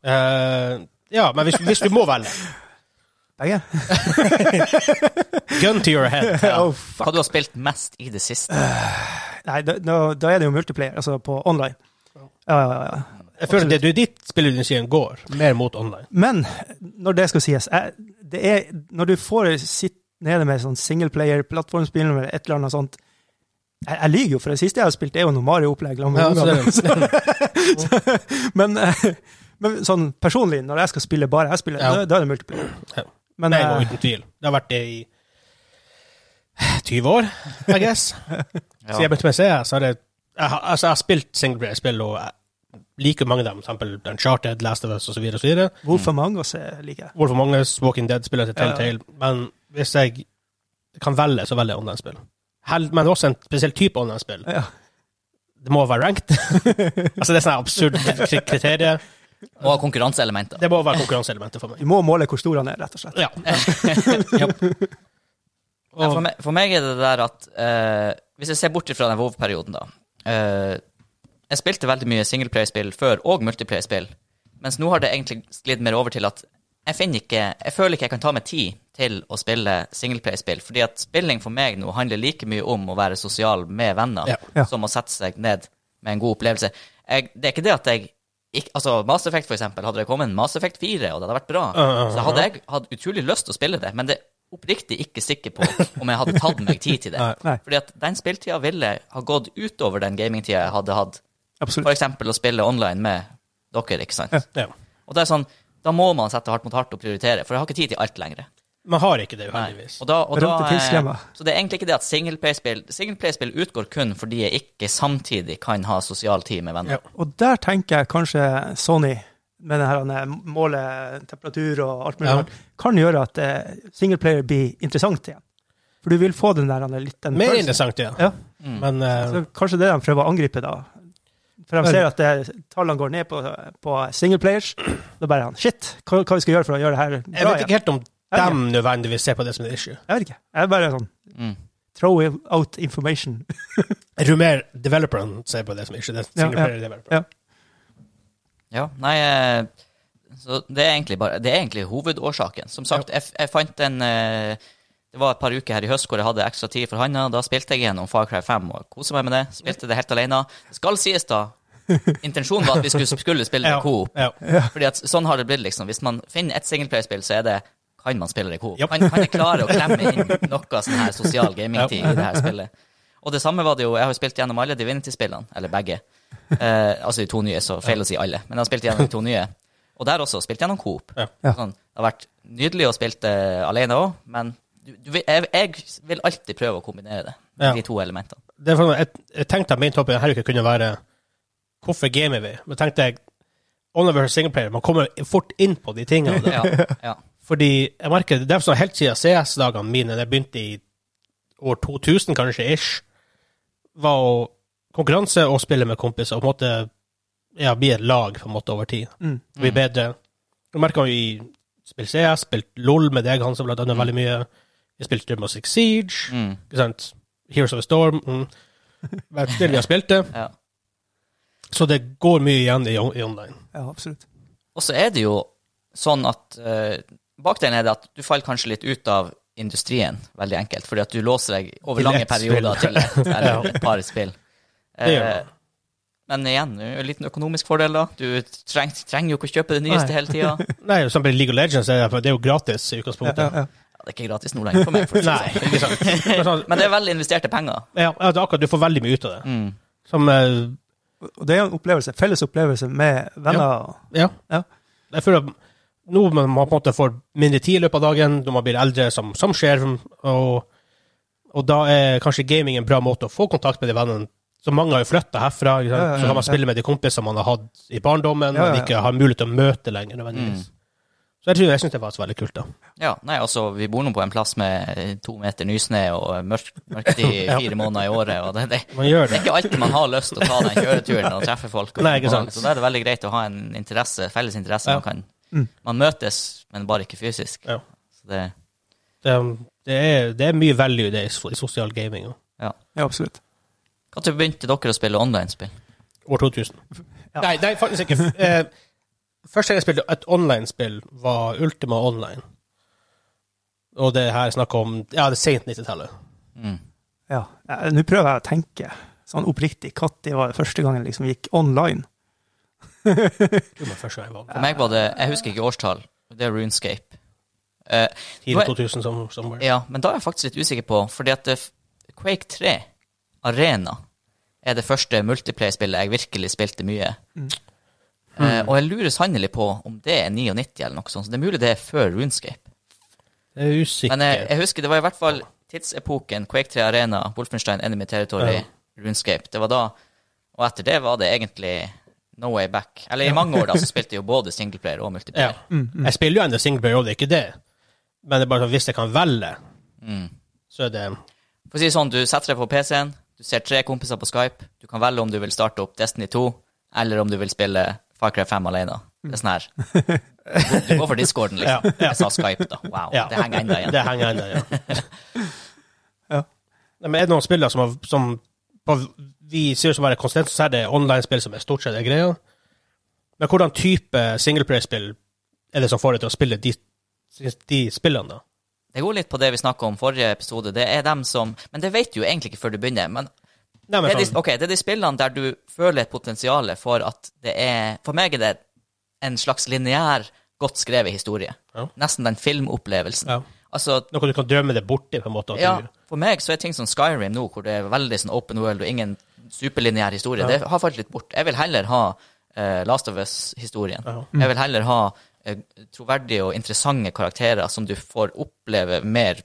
A: Eh, ja, men hvis, hvis du må velge
C: Begge?
A: Gun to your head.
C: Oh,
B: Hva
C: fuck.
B: du har spilt mest i det siste?
C: Nei, da, nå- da er det jo multiplayer, altså på online. Ja, ja, ja.
A: Jeg føler det du ditt spillinitiativ går mer mot online.
C: Men når det skal sies jeg, det er, Når du får sitte nede med sånn singleplayer-plattformspill eller et eller annet sånt Jeg, jeg lyver jo, for det siste jeg har spilt, er jo noe Mario-opplegg. sammen med
A: Ja, så
C: ungene.
A: det
C: men, eh, men sånn personlig, når jeg skal spille bare jeg spiller,
A: Ja.
C: da, da er det multiplayer.
A: Ja.
C: Men
A: Nei, jeg går
C: eh,
A: uten tvil. Det har vært det i 20 år, I guess.
B: Ja.
A: Siden jeg begynte med CS, har jeg, jeg, har- altså, jeg har spilt singleplayer-spill, og jeg liker mange av dem. For eksempel Uncharted, Last of Us osv.
C: Wolf Among Us eh, liker jeg.
A: Hvorfor mange Walking Dead-spiller til
C: Ja, ja.
A: Telltale. Men hvis jeg kan velge, så velger jeg online-spill. Hel- Men også en spesiell type online-spill.
C: Ja.
A: Det må være ranked. altså Det er sånne absurde kri- kriterier.
B: Og har konkurranseelementer.
A: Det må være konkurranseelementet for meg.
C: Du må måle hvor stor han er, rett og slett.
A: Ja.
B: Nei, For, meg, for meg er det der at eh, Hvis jeg ser bort fra den WoW-perioden, da eh, Jeg spilte veldig mye singleplayerspill før, og multiplayerspill, mens nå har det egentlig sklidd mer over til at jeg finner ikke Jeg føler ikke jeg kan ta meg tid til å spille singleplayerspill, fordi at spilling for meg nå handler like mye om å være sosial med venner
A: Ja,
C: ja.
B: som å sette seg ned med en god opplevelse. Jeg, det er ikke det at jeg ikke, altså Mass Effect, for eksempel. Hadde det kommet en Mass Effect 4, og det hadde vært bra,
A: Ja, ja,
B: så hadde jeg hatt utrolig lyst til å spille det, men det er oppriktig ikke sikker på om jeg hadde tatt meg tid til det.
A: Nei.
C: Nei.
B: Fordi at den spilltida ville ha gått utover den gamingtida jeg hadde hatt. For
C: Absolutt.
B: eksempel å spille online med dere, ikke sant.
A: Ja.
B: Og det er sånn, da må man sette hardt mot hardt og prioritere, for jeg har ikke tid til alt lenger.
A: Man har ikke det,
B: Nei.
A: uheldigvis.
B: Og da, og da,
C: Berømte tidsklemma.
B: eh, så det er egentlig ikke det at singleplayerspill Singleplayerspill utgår kun fordi jeg ikke samtidig kan ha sosial tid med venner.
A: Ja.
C: Og der tenker jeg kanskje Sony, med den her han, eh, måle temperatur og alt mulig
A: Ja.
C: rart, kan gjøre at eh, singleplayer blir interessant igjen. For du vil få den der han, er litt den
A: Mer
C: følelsen.
A: interessant, ja.
C: Ja.
B: Mm.
A: Men eh,
C: Så kanskje det de prøver å angripe, da. For de ser at det, tallene går ned på, på single players. Da bare han Shit, hva, hva vi skal gjøre for å gjøre det her
A: jeg
C: bra
A: vet
C: igjen?
A: ikke helt om
C: Ja,
A: dem nødvendigvis ser på det som et issue.
C: Jeg vet ikke. Jeg er bare sånn
B: Mm.
C: throw out information.
A: Jeg tror mer developeren ser på det som issue. Det er
C: Ja, ja.
A: singleplayer-developer.
C: Ja.
B: Ja, nei eh, Så det er egentlig bare Det er egentlig hovedårsaken. Som sagt, jeg, f- jeg fant en eh, Det var et par uker her i høst hvor jeg hadde ekstra tid for handa. Da spilte jeg gjennom Far Cry 5 og kosa meg med det. Spilte det helt alene. Det skal sies, da. Intensjonen var at vi skulle, skulle spille det i coop.
A: Ja.
B: Fordi at sånn har det blitt, liksom. Hvis man finner et singleplayerspill, så er det kan man spille det i coop?
A: Japp.
B: Kan, kan jeg klare å klemme inn noe sånn her sosial gamingtid i det her spillet? Og det samme var det jo, jeg har jo spilt gjennom alle Divinity-spillene, eller begge. Eh, altså de to nye, så feil å si alle, men jeg har spilt gjennom de to nye. Og der også, spilt gjennom coop.
A: Ja.
C: Ja.
B: Sånn, det har vært nydelig å spille det alene òg, men du, du, vil- jeg, jeg vil alltid prøve å kombinere det,
A: Ja.
B: de to elementene.
A: Det er for meg, jeg, jeg tenkte at min topp denne uka kunne være Hvorfor gamer vi? Men tenkte jeg Only versus singleplayer. Man kommer fort inn på de tingene. Da.
B: Ja, ja.
A: Fordi jeg merker det er sånn helt siden CS-dagene mine, det begynte i år 2000 kanskje, ish, var å konkurranse og spille med kompiser, og på en måte ja, bli et lag på en måte over tid.
C: Mm.
A: Bli
B: Mm.
A: bedre. Jeg merker jo i spill CS, spilt LOL med deg, Hansa, blant annet,
B: Mm.
A: veldig mye. Jeg spilte Rainbow Six Siege,
B: Mm,
A: ikke sant? Heroes of the Storm, mm. Hver spill vi har spilt det.
B: ja.
A: Så det går mye igjen i, i online.
C: Ja, absolutt.
B: Og så er det jo sånn at eh, Bak den er det at du faller kanskje litt ut av industrien, veldig enkelt. Fordi at du låser deg over
A: Til
B: lange
A: ett spill.
B: perioder til et, eller et par spill.
A: Det gjør
B: Eh,
A: man.
B: men igjen, det er jo en liten økonomisk fordel, da. Du treng, trenger jo ikke å kjøpe det nyeste
C: Nei.
B: hele tida. Ja,
A: Nei, for eksempel i League of Legends er det, det er jo gratis i
C: Ja,
A: utgangspunktet.
C: ja, ja.
B: det er ikke gratis nå lenger for meg. For å si det
A: Nei, ikke sant. Men sånn-
B: sånn. Men det er veldig investerte penger.
A: Ja, ja, det er akkurat. Du får veldig mye ut av det.
B: Mm.
A: Som eh,
C: Og det er jo en opplevelse, felles opplevelse med venner.
A: Ja.
C: Ja.
A: Jeg føler at nå man på en måte får mindre tid i løpet av dagen, når man blir eldre, som, som skjer, og, og da er kanskje gaming en bra måte å få kontakt med de vennene. Så mange har jo flytta herfra, ikke sant?
C: Ja, ja, ja,
A: så kan man
C: ja.
A: spille med de kompisene man har hatt i barndommen,
C: Ja, ja,
A: og
C: ja. Mm.
A: ikke har mulighet til å møte lenger, nødvendigvis. Så jeg tror jeg syns det var veldig kult, da.
B: Ja, nei, altså, vi bor nå på en plass med eh, to meter nysnø og mørkt mørkt i
A: Ja.
B: fire måneder i året, og det, det,
A: Man gjør
B: Det
A: det.
B: er ikke alltid man har lyst til å ta den kjøreturen og treffe folk. Og sånn,
A: Nei, ikke sant.
B: Så da er det veldig greit å ha en interesse, felles interesse.
A: Ja.
B: Man, kan,
C: Mm.
B: man møtes, men bare ikke fysisk.
A: Ja.
B: Så det,
A: Det, det, er, det er mye value i det i, i sosial gaming. og
C: Ja, absolutt.
B: når begynte dere å spille online-spill?
A: År 2000.
C: Ja.
A: Nei, nei, faktisk ikke. F- Eh, Første gang jeg spilte et online-spill, var Ultima Online. Og det her er snakk om Ja, det er sent 90-tallet.
B: Mm.
C: Ja. Ja, Nå prøver jeg å tenke sånn oppriktig når var det første gangen jeg liksom gikk online.
A: Det var første gang jeg var med.
B: For meg var det Jeg husker ikke årstall. Det er Runescape. Eh,
A: Tidlig 2000 som somewhere.
B: ja, men da er jeg faktisk litt usikker på, fordi at det, Quake 3, Arena, er det første multiplayer-spillet jeg virkelig spilte mye.
A: Mm.
B: Eh, og jeg lurer sannelig på om det er 99 eller noe sånt. Så det er mulig det er før Runescape.
A: Jeg er usikker.
B: Men eh, jeg, jeg husker det var i hvert fall tidsepoken Quake 3 Arena, Wolfenstein Enemy Territory,
A: Ja.
B: Runescape. Det var da Og etter det var det egentlig no way back. Eller i mange år da så spilte jeg jo både singleplayer og
A: ja.
B: multiplayer.
A: jeg spiller jo ennå Singleplayer, og det er ikke det. Men det er bare sånn, hvis jeg kan velge,
B: Mm.
A: så er det
B: For å si det sånn, du setter deg på PC-en, du ser tre kompiser på Skype, du kan velge om du vil starte opp Destiny 2, eller om du vil spille Far Cry 5 alene. Det er sånn her. Du går for discorden, liksom.
A: Mm. Ja, ja.
B: Jeg sa Skype, da. Wow.
A: Ja.
B: Det henger enda igjen.
A: Det henger ennå, ja.
C: Ja.
A: Nei, Men er det noen spillere som, har, som på, vi sier som er konstant, så er det online-spill som er stort sett er greia. Men hvordan type singleplayer-spill er det som får deg til å spille de, de spillene, da?
B: Det går litt på det vi snakka om forrige episode. Det er dem som Men det vet du jo egentlig ikke før du begynner. Men
A: Nei, men
B: det er de,
A: sånn,
B: ok, det er de spillene der du føler et potensial for at det er For meg er det en slags lineær, godt skrevet historie.
A: Ja.
B: Nesten den filmopplevelsen.
A: ja.
B: Altså,
A: Noe du kan drømme deg borti, på en måte. at
B: ja,
A: du,
B: for meg så er ting som Skyrim nå, hvor det er veldig sånn open world og ingen superlineær historie,
A: Ja.
B: det har falt litt bort. Jeg vil heller ha eh, Last of Us-historien.
A: Ja.
B: Jeg vil heller ha eh, troverdige og interessante karakterer som du får oppleve mer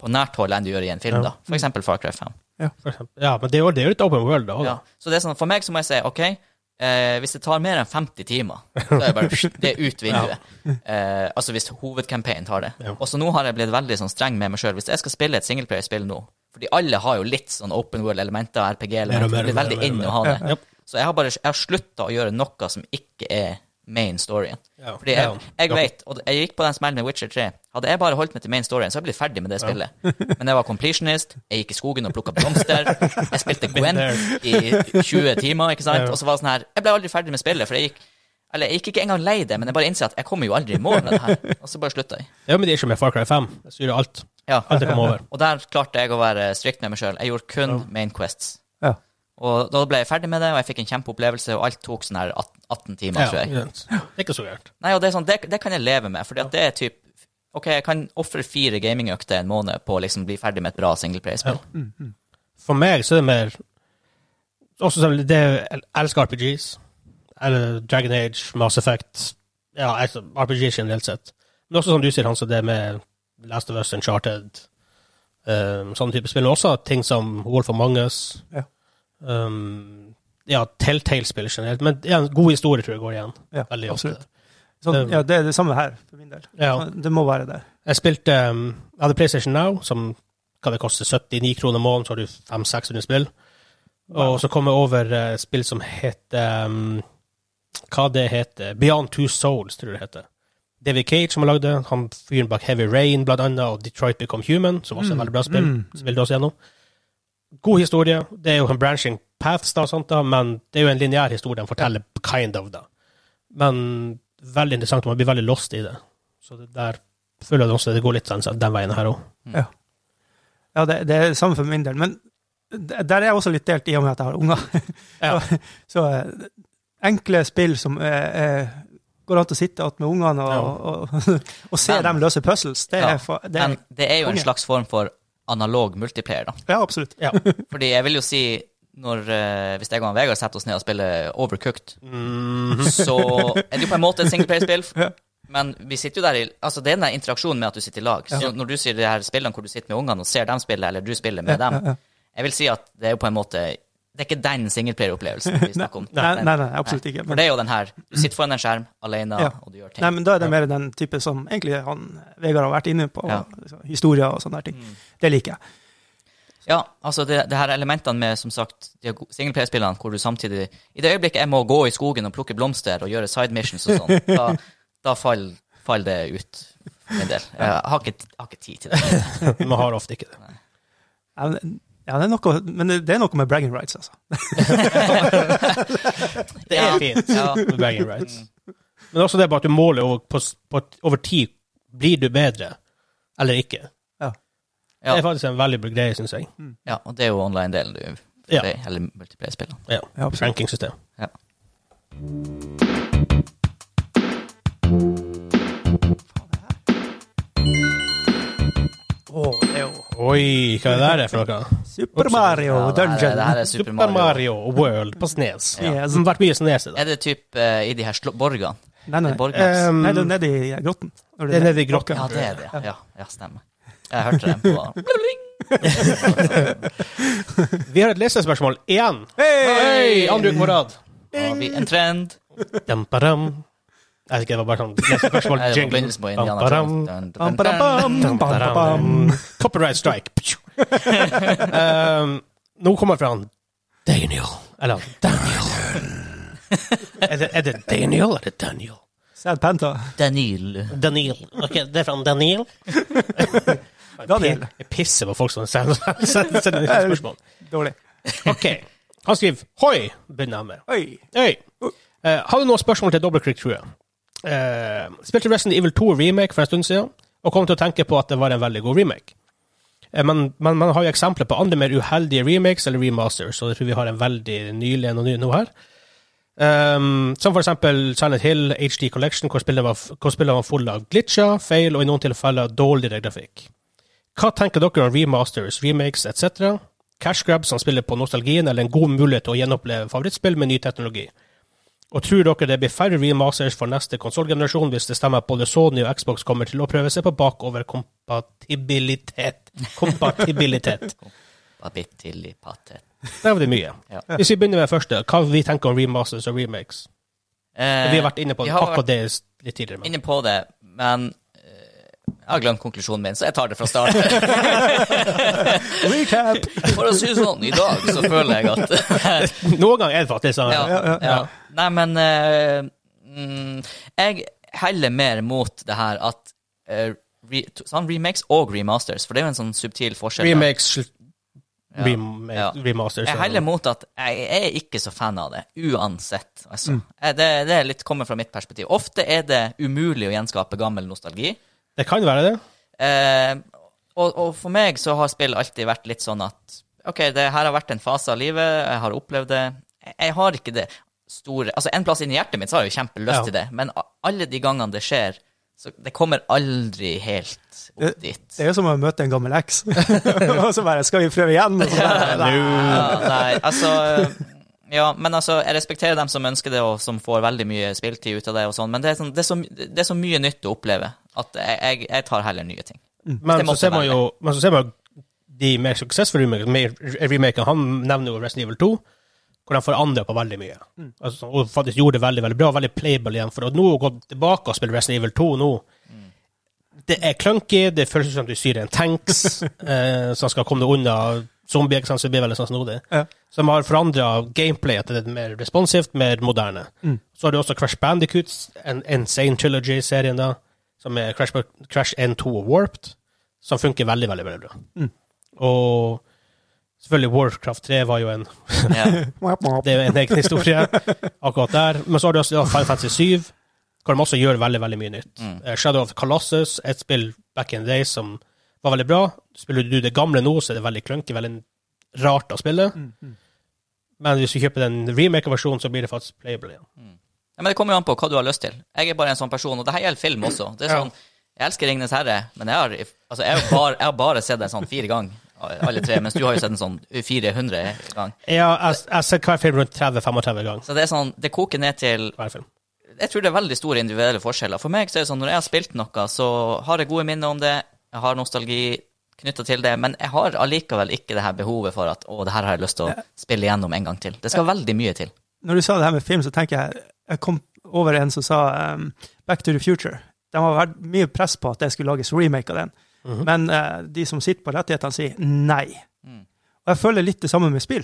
B: på nært hold enn du gjør i en film,
A: Ja.
B: da. For eksempel Far Cry 5.
A: for eksempel. ja, men det er jo- det er jo litt open world, da.
B: Ja.
A: Ja.
B: Så det er sånn, for meg så må jeg si OK, eh, hvis det tar mer enn 50 timer, så er det bare pst, det er ut vinduet. Eh, altså hvis hovedcampaignen tar det.
A: Ja.
B: Og så nå har jeg blitt veldig sånn streng med meg sjøl. Hvis jeg skal spille et singleplayerspill nå, Fordi alle har jo litt sånn open world-elementer,
A: Mer og
B: RPG-elementer.
A: mer
B: Det
A: og
B: blir
A: mer
B: veldig
A: og mer og
B: inn å ha
A: mer. Ja.
B: det. Så jeg har bare jeg har slutta å gjøre noe som ikke er main storyen.
A: Ja.
B: Fordi
A: Ja.
B: jeg, jeg vet, og jeg gikk på den smellen med Witcher 3. Hadde jeg bare holdt meg til main storyen, så hadde jeg blitt ferdig med det spillet. Men jeg var completionist, jeg gikk i skogen og plukka blomster, jeg spilte
A: Been
B: Gwen i 20 timer, ikke sant?
A: Ja.
B: Og så var det sånn her Jeg ble aldri ferdig med spillet, for jeg gikk Eller jeg gikk ikke engang lei det, men jeg bare innser at jeg kommer jo aldri i mål med det her. Og så bare slutta jeg.
A: Det er jo med de ikke med Far Cry 5. Jeg styrer alt.
B: Ja.
A: Alt jeg kommer over.
B: Og der klarte jeg å være strikt med meg sjøl. Jeg gjorde kun main quests.
C: Ja.
B: Og da ble jeg ferdig med det, og jeg fikk en kjempeopplevelse, og alt tok sånn her 18, 18 timer,
A: Ja,
B: tror jeg.
A: ikke sant. Det er ikke så gærent.
B: Nei, og det er sånn, det, det kan jeg leve med, fordi at det er typ OK, jeg kan ofre fire gamingøkter en måned på å liksom bli ferdig med et bra singleplay-spill.
A: For meg så er det mer Også selv det Jeg elsker RPGs. Eller Dragon Age, Mass Effect. Ja, altså, RPG generelt sett. Men også som du sier, Hans, det med Last of Us, Uncharted um, Sånne type spill. Men også ting som Wolf of Mangus.
C: Ja.
A: Um, ja, Telltale-spill generelt. Men ja, en god historie tror jeg går igjen.
C: Ja,
A: Veldig ofte.
C: absolutt. Sånn, ja, det er det samme her, for min del. Sånn,
A: Ja.
C: Det må være det.
A: Jeg spilte um, Jeg hadde PlayStation Now, som hva det koster 79 kroner måneden, så har du 500-600 spill. Og så kom jeg over eh, spill som heter um, Hva det heter Beyond Two Souls, tror jeg det heter. David Cage, som har lagd det. Han fyren bak Heavy Rain, blant annet, og Detroit Become Human, som også er et veldig bra spill.
C: Mm.
A: Spilte også gjennom. God historie. Det er jo en branching paths, da, og sånt da, men det er jo en lineær historie han forteller, kind of, da. Men veldig interessant, og man blir veldig lost i det. Så det der føler jeg også det går litt sånn, så den veien her òg.
C: Ja, det, det er det samme for min del. Men d- der er jeg også litt delt, i og med at jeg har unger.
A: Ja.
C: så, så eh, enkle spill som eh, eh, går an til å sitte att med ungene og, og, og, se
B: Men-
C: dem løse puzzles, det
B: Ja,
C: er, for, det er
B: Men det er jo en
C: konge.
B: slags form for analog multiplayer, da.
C: Ja, absolutt.
A: Ja.
B: Fordi jeg vil jo si, når, eh, hvis jeg og han Vegard setter oss ned og spiller Overcooked,
C: Mm.
B: så er det jo på en måte et singleplayer-spill. Men vi sitter jo der i, altså det er den der interaksjonen med at du sitter i lag. Så Når du sier de her spillene hvor du sitter med ungene og ser dem spille, eller du spiller med dem, jeg vil si at det er jo på en måte Det er ikke den singleplayer-opplevelsen vi snakker om.
C: Nei,
B: Den-
C: nei, nei, absolutt ikke.
B: For det er jo den her Du sitter foran en skjerm alene,
C: Ja.
B: og du gjør ting.
C: Nei, men da er det mer den type som egentlig han Vegard har vært inne på,
B: Ja.
C: liksom, historier og sånne der ting. Det liker jeg.
B: Ja, altså det, det her elementene med som sagt de go- singleplayer-spillene, hvor du samtidig I det øyeblikket jeg må gå i skogen og plukke blomster og gjøre side missions og sånn, da, da faller fall det ut for min del. Jeg har ikke, jeg har ikke tid til det.
A: Man har ofte ikke det.
C: Ja, men- ja, det er noe, men det er noe med bragging rights, altså.
A: Det er fint.
B: Ja,
A: med bragging rights. Men også det bare at du måler over, på, s- på, over tid blir du bedre eller ikke. Det er
B: ja, Mm.
A: faktisk en veldig bra greie, syns jeg.
B: ja, og det er jo online-delen du
A: Ja.
B: det, Eller multiplayer-spillene.
A: Ja.
C: Ja, absolutt.
A: Rankingsystem.
B: Ja.
C: Å, det er jo
A: Oi, hva er det der for noe?
C: Super Mario
B: Ja, det, her,
C: Dungeon.
B: er- det her er Super Mario.
A: World på Snes.
C: Ja.
A: Det har vært mye Snes i
B: Er
A: dag.
B: det typ eh, i de her slå- borgene?
C: Nei, nei,
B: Borg Maps?
A: Um,
C: nei, det er nede i grotten. Når
A: det er nede i grotta.
B: Ehm, ja, det er det. Ja, ja stemmer. Jeg hørte den på
A: Vi har et lesespørsmål igjen. Hei! Andre uke på rad.
B: Har vi en trend?
A: Dam, padam. Jeg vet ikke, det var bare sånn lesespørsmål.
B: Nei, det var
A: jingle.
B: begynnelsen på
A: Dam,
B: Indiana
A: padam.
B: Jones. Dun, dun,
C: Bam,
B: dun,
C: bam, bam, bam, bam, bam.
A: Copyright strike. um, nå kommer jeg fra han Daniel. Eller han Daniel. er, det, er det Daniel eller er det Daniel?
C: Sad Panta.
B: Daniel.
A: Daniel. Ok, det er fra han Daniel.
C: Daniel.
A: Jeg pisser på folk som sender sender- sender spørsmål.
C: Dårlig.
A: Ok. Han skriver Hoi, begynner han med.
C: Oi!
A: Hei. Eh, har du noen spørsmål til Double Click, tror jeg? Eh, spilte Resident Evil 2 remake for en stund siden, og kom til å tenke på at det var en veldig god remake. Eh, men, men man har jo eksempler på andre mer uheldige remakes eller remasters, og jeg tror vi har en veldig nylig en og ny nå her. Um, som for eksempel Silent Hill HD Collection, hvor spillet var, hvor spillet var full av glitcher, feil og i noen tilfeller dårligere grafikk. Hva tenker dere om remasters, remakes etc.? Cash grabs som spiller på nostalgien, eller en god mulighet til å gjenoppleve favorittspill med ny teknologi? Og tror dere det blir færre remasters for neste konsollgenerasjon hvis det stemmer at både Sony og Xbox kommer til å prøve seg på bakoverkompatibilitet? Kompatibilitet.
B: Babittilipatet.
A: Der var det mye.
B: Ja.
A: Hvis vi begynner med det første, hva vi tenker om remasters og remakes?
B: Eh,
A: Vi har vært inne på
B: vi har
A: akkurat det litt tidligere.
B: vært
A: Men.
B: inne på det, men eh, Jeg har glemt konklusjonen min, så jeg tar det fra start.
C: Recap!
B: For å si sånn, i dag så føler jeg at
A: Noen ganger er det faktisk sånn.
B: ja,
C: ja, ja.
B: ja. Nei, men eh, mm, Jeg heller mer mot det her at eh, re, to- sånn remakes og remasters, for det er jo en sånn subtil forskjell. da.
A: Remakes,
B: Ja.
A: remake,
B: Ja.
A: remasters
B: Jeg heller mot at jeg er ikke så fan av det, uansett. Altså. Eh, Det, det er litt kommer fra mitt perspektiv. Ofte er det umulig å gjenskape gammel nostalgi.
A: Det kan være det.
B: Eh, og, og for meg så har spill alltid vært litt sånn at OK, det her har vært en fase av livet, jeg har opplevd det. Jeg, jeg har ikke det store Altså, en plass inni hjertet mitt så har jeg jo kjempelyst
A: Ja.
B: til det, men a- alle de gangene det skjer, så det kommer aldri helt opp dit.
C: Det er jo som å møte en gammel eks. og så bare Skal vi prøve igjen? Og så bare,
A: Nå.
B: Ja, nei, altså Ja, men altså, jeg respekterer dem som ønsker det, og som får veldig mye spiltid ut av det, og sånn, men det er, sånn, det, er så, det er så mye nytt å oppleve at jeg, jeg, jeg tar heller nye ting.
A: Men
B: Det
A: så
B: måtte
A: ser man
B: være
A: jo men så ser man de mer suksessfulle remakene. mer- remakene. Han nevner jo Resident Evil 2, hvor de forandra på veldig mye. Altså, og faktisk gjorde det veldig veldig bra, veldig playable igjen. For å nå gå tilbake og spille Resident Evil 2 nå
B: Mm.
A: Det er clunky, det føles som du styrer en tanks eh, som skal komme deg unna zombier. ikke sant, Så det blir veldig sånn snodig.
C: Ja.
A: Som har forandra gameplayet til det mer responsivt, mer moderne. Så har du også Crash Bandicoots, en Insane Trilogy-serien, da, som er Crash, Crash 1, 2 og Warped, som funker veldig, veldig, veldig bra. Og selvfølgelig Warcraft 3 var jo en
B: Ja.
A: det er jo en egen historie akkurat der. Men så har du også ja, Final Fantasy 7, hvor de også gjør veldig veldig mye nytt. Eh, Shadow of the Colossus, et spill back in the day som var veldig bra. Spiller du det gamle nå, så er det veldig klunky, veldig rart å spille. Men hvis du kjøper den remake-versjonen, så blir det faktisk playable igjen.
B: Ja, men Det kommer jo an på hva du har lyst til. Jeg er bare en sånn person, og det her gjelder film også. Det er sånn, Jeg elsker 'Ringenes herre', men jeg har, altså, jeg har, bare, jeg har bare sett den sånn fire ganger, alle tre, mens du har jo sett den sånn 400 ganger.
A: Ja, jeg, jeg har sett hver film rundt 30-35 ganger.
B: Så det er sånn, det koker ned til
A: Hver film.
B: Jeg tror det er veldig store individuelle forskjeller. For meg så er det sånn, når jeg har spilt noe, så har jeg gode minner om det, jeg har nostalgi knytta til det, men jeg har allikevel ikke det her behovet for at å, det her har jeg lyst til å spille igjennom en gang til. Det skal veldig mye til.
C: Når du sa det her med film, så tenker jeg Jeg kom over en som sa um, Back to the Future. De har vært mye press på at det skulle lages remake av den.
A: Mhm.
C: Men eh, de som sitter på rettighetene, sier nei.
B: Mm.
C: Og jeg føler litt det samme med spill.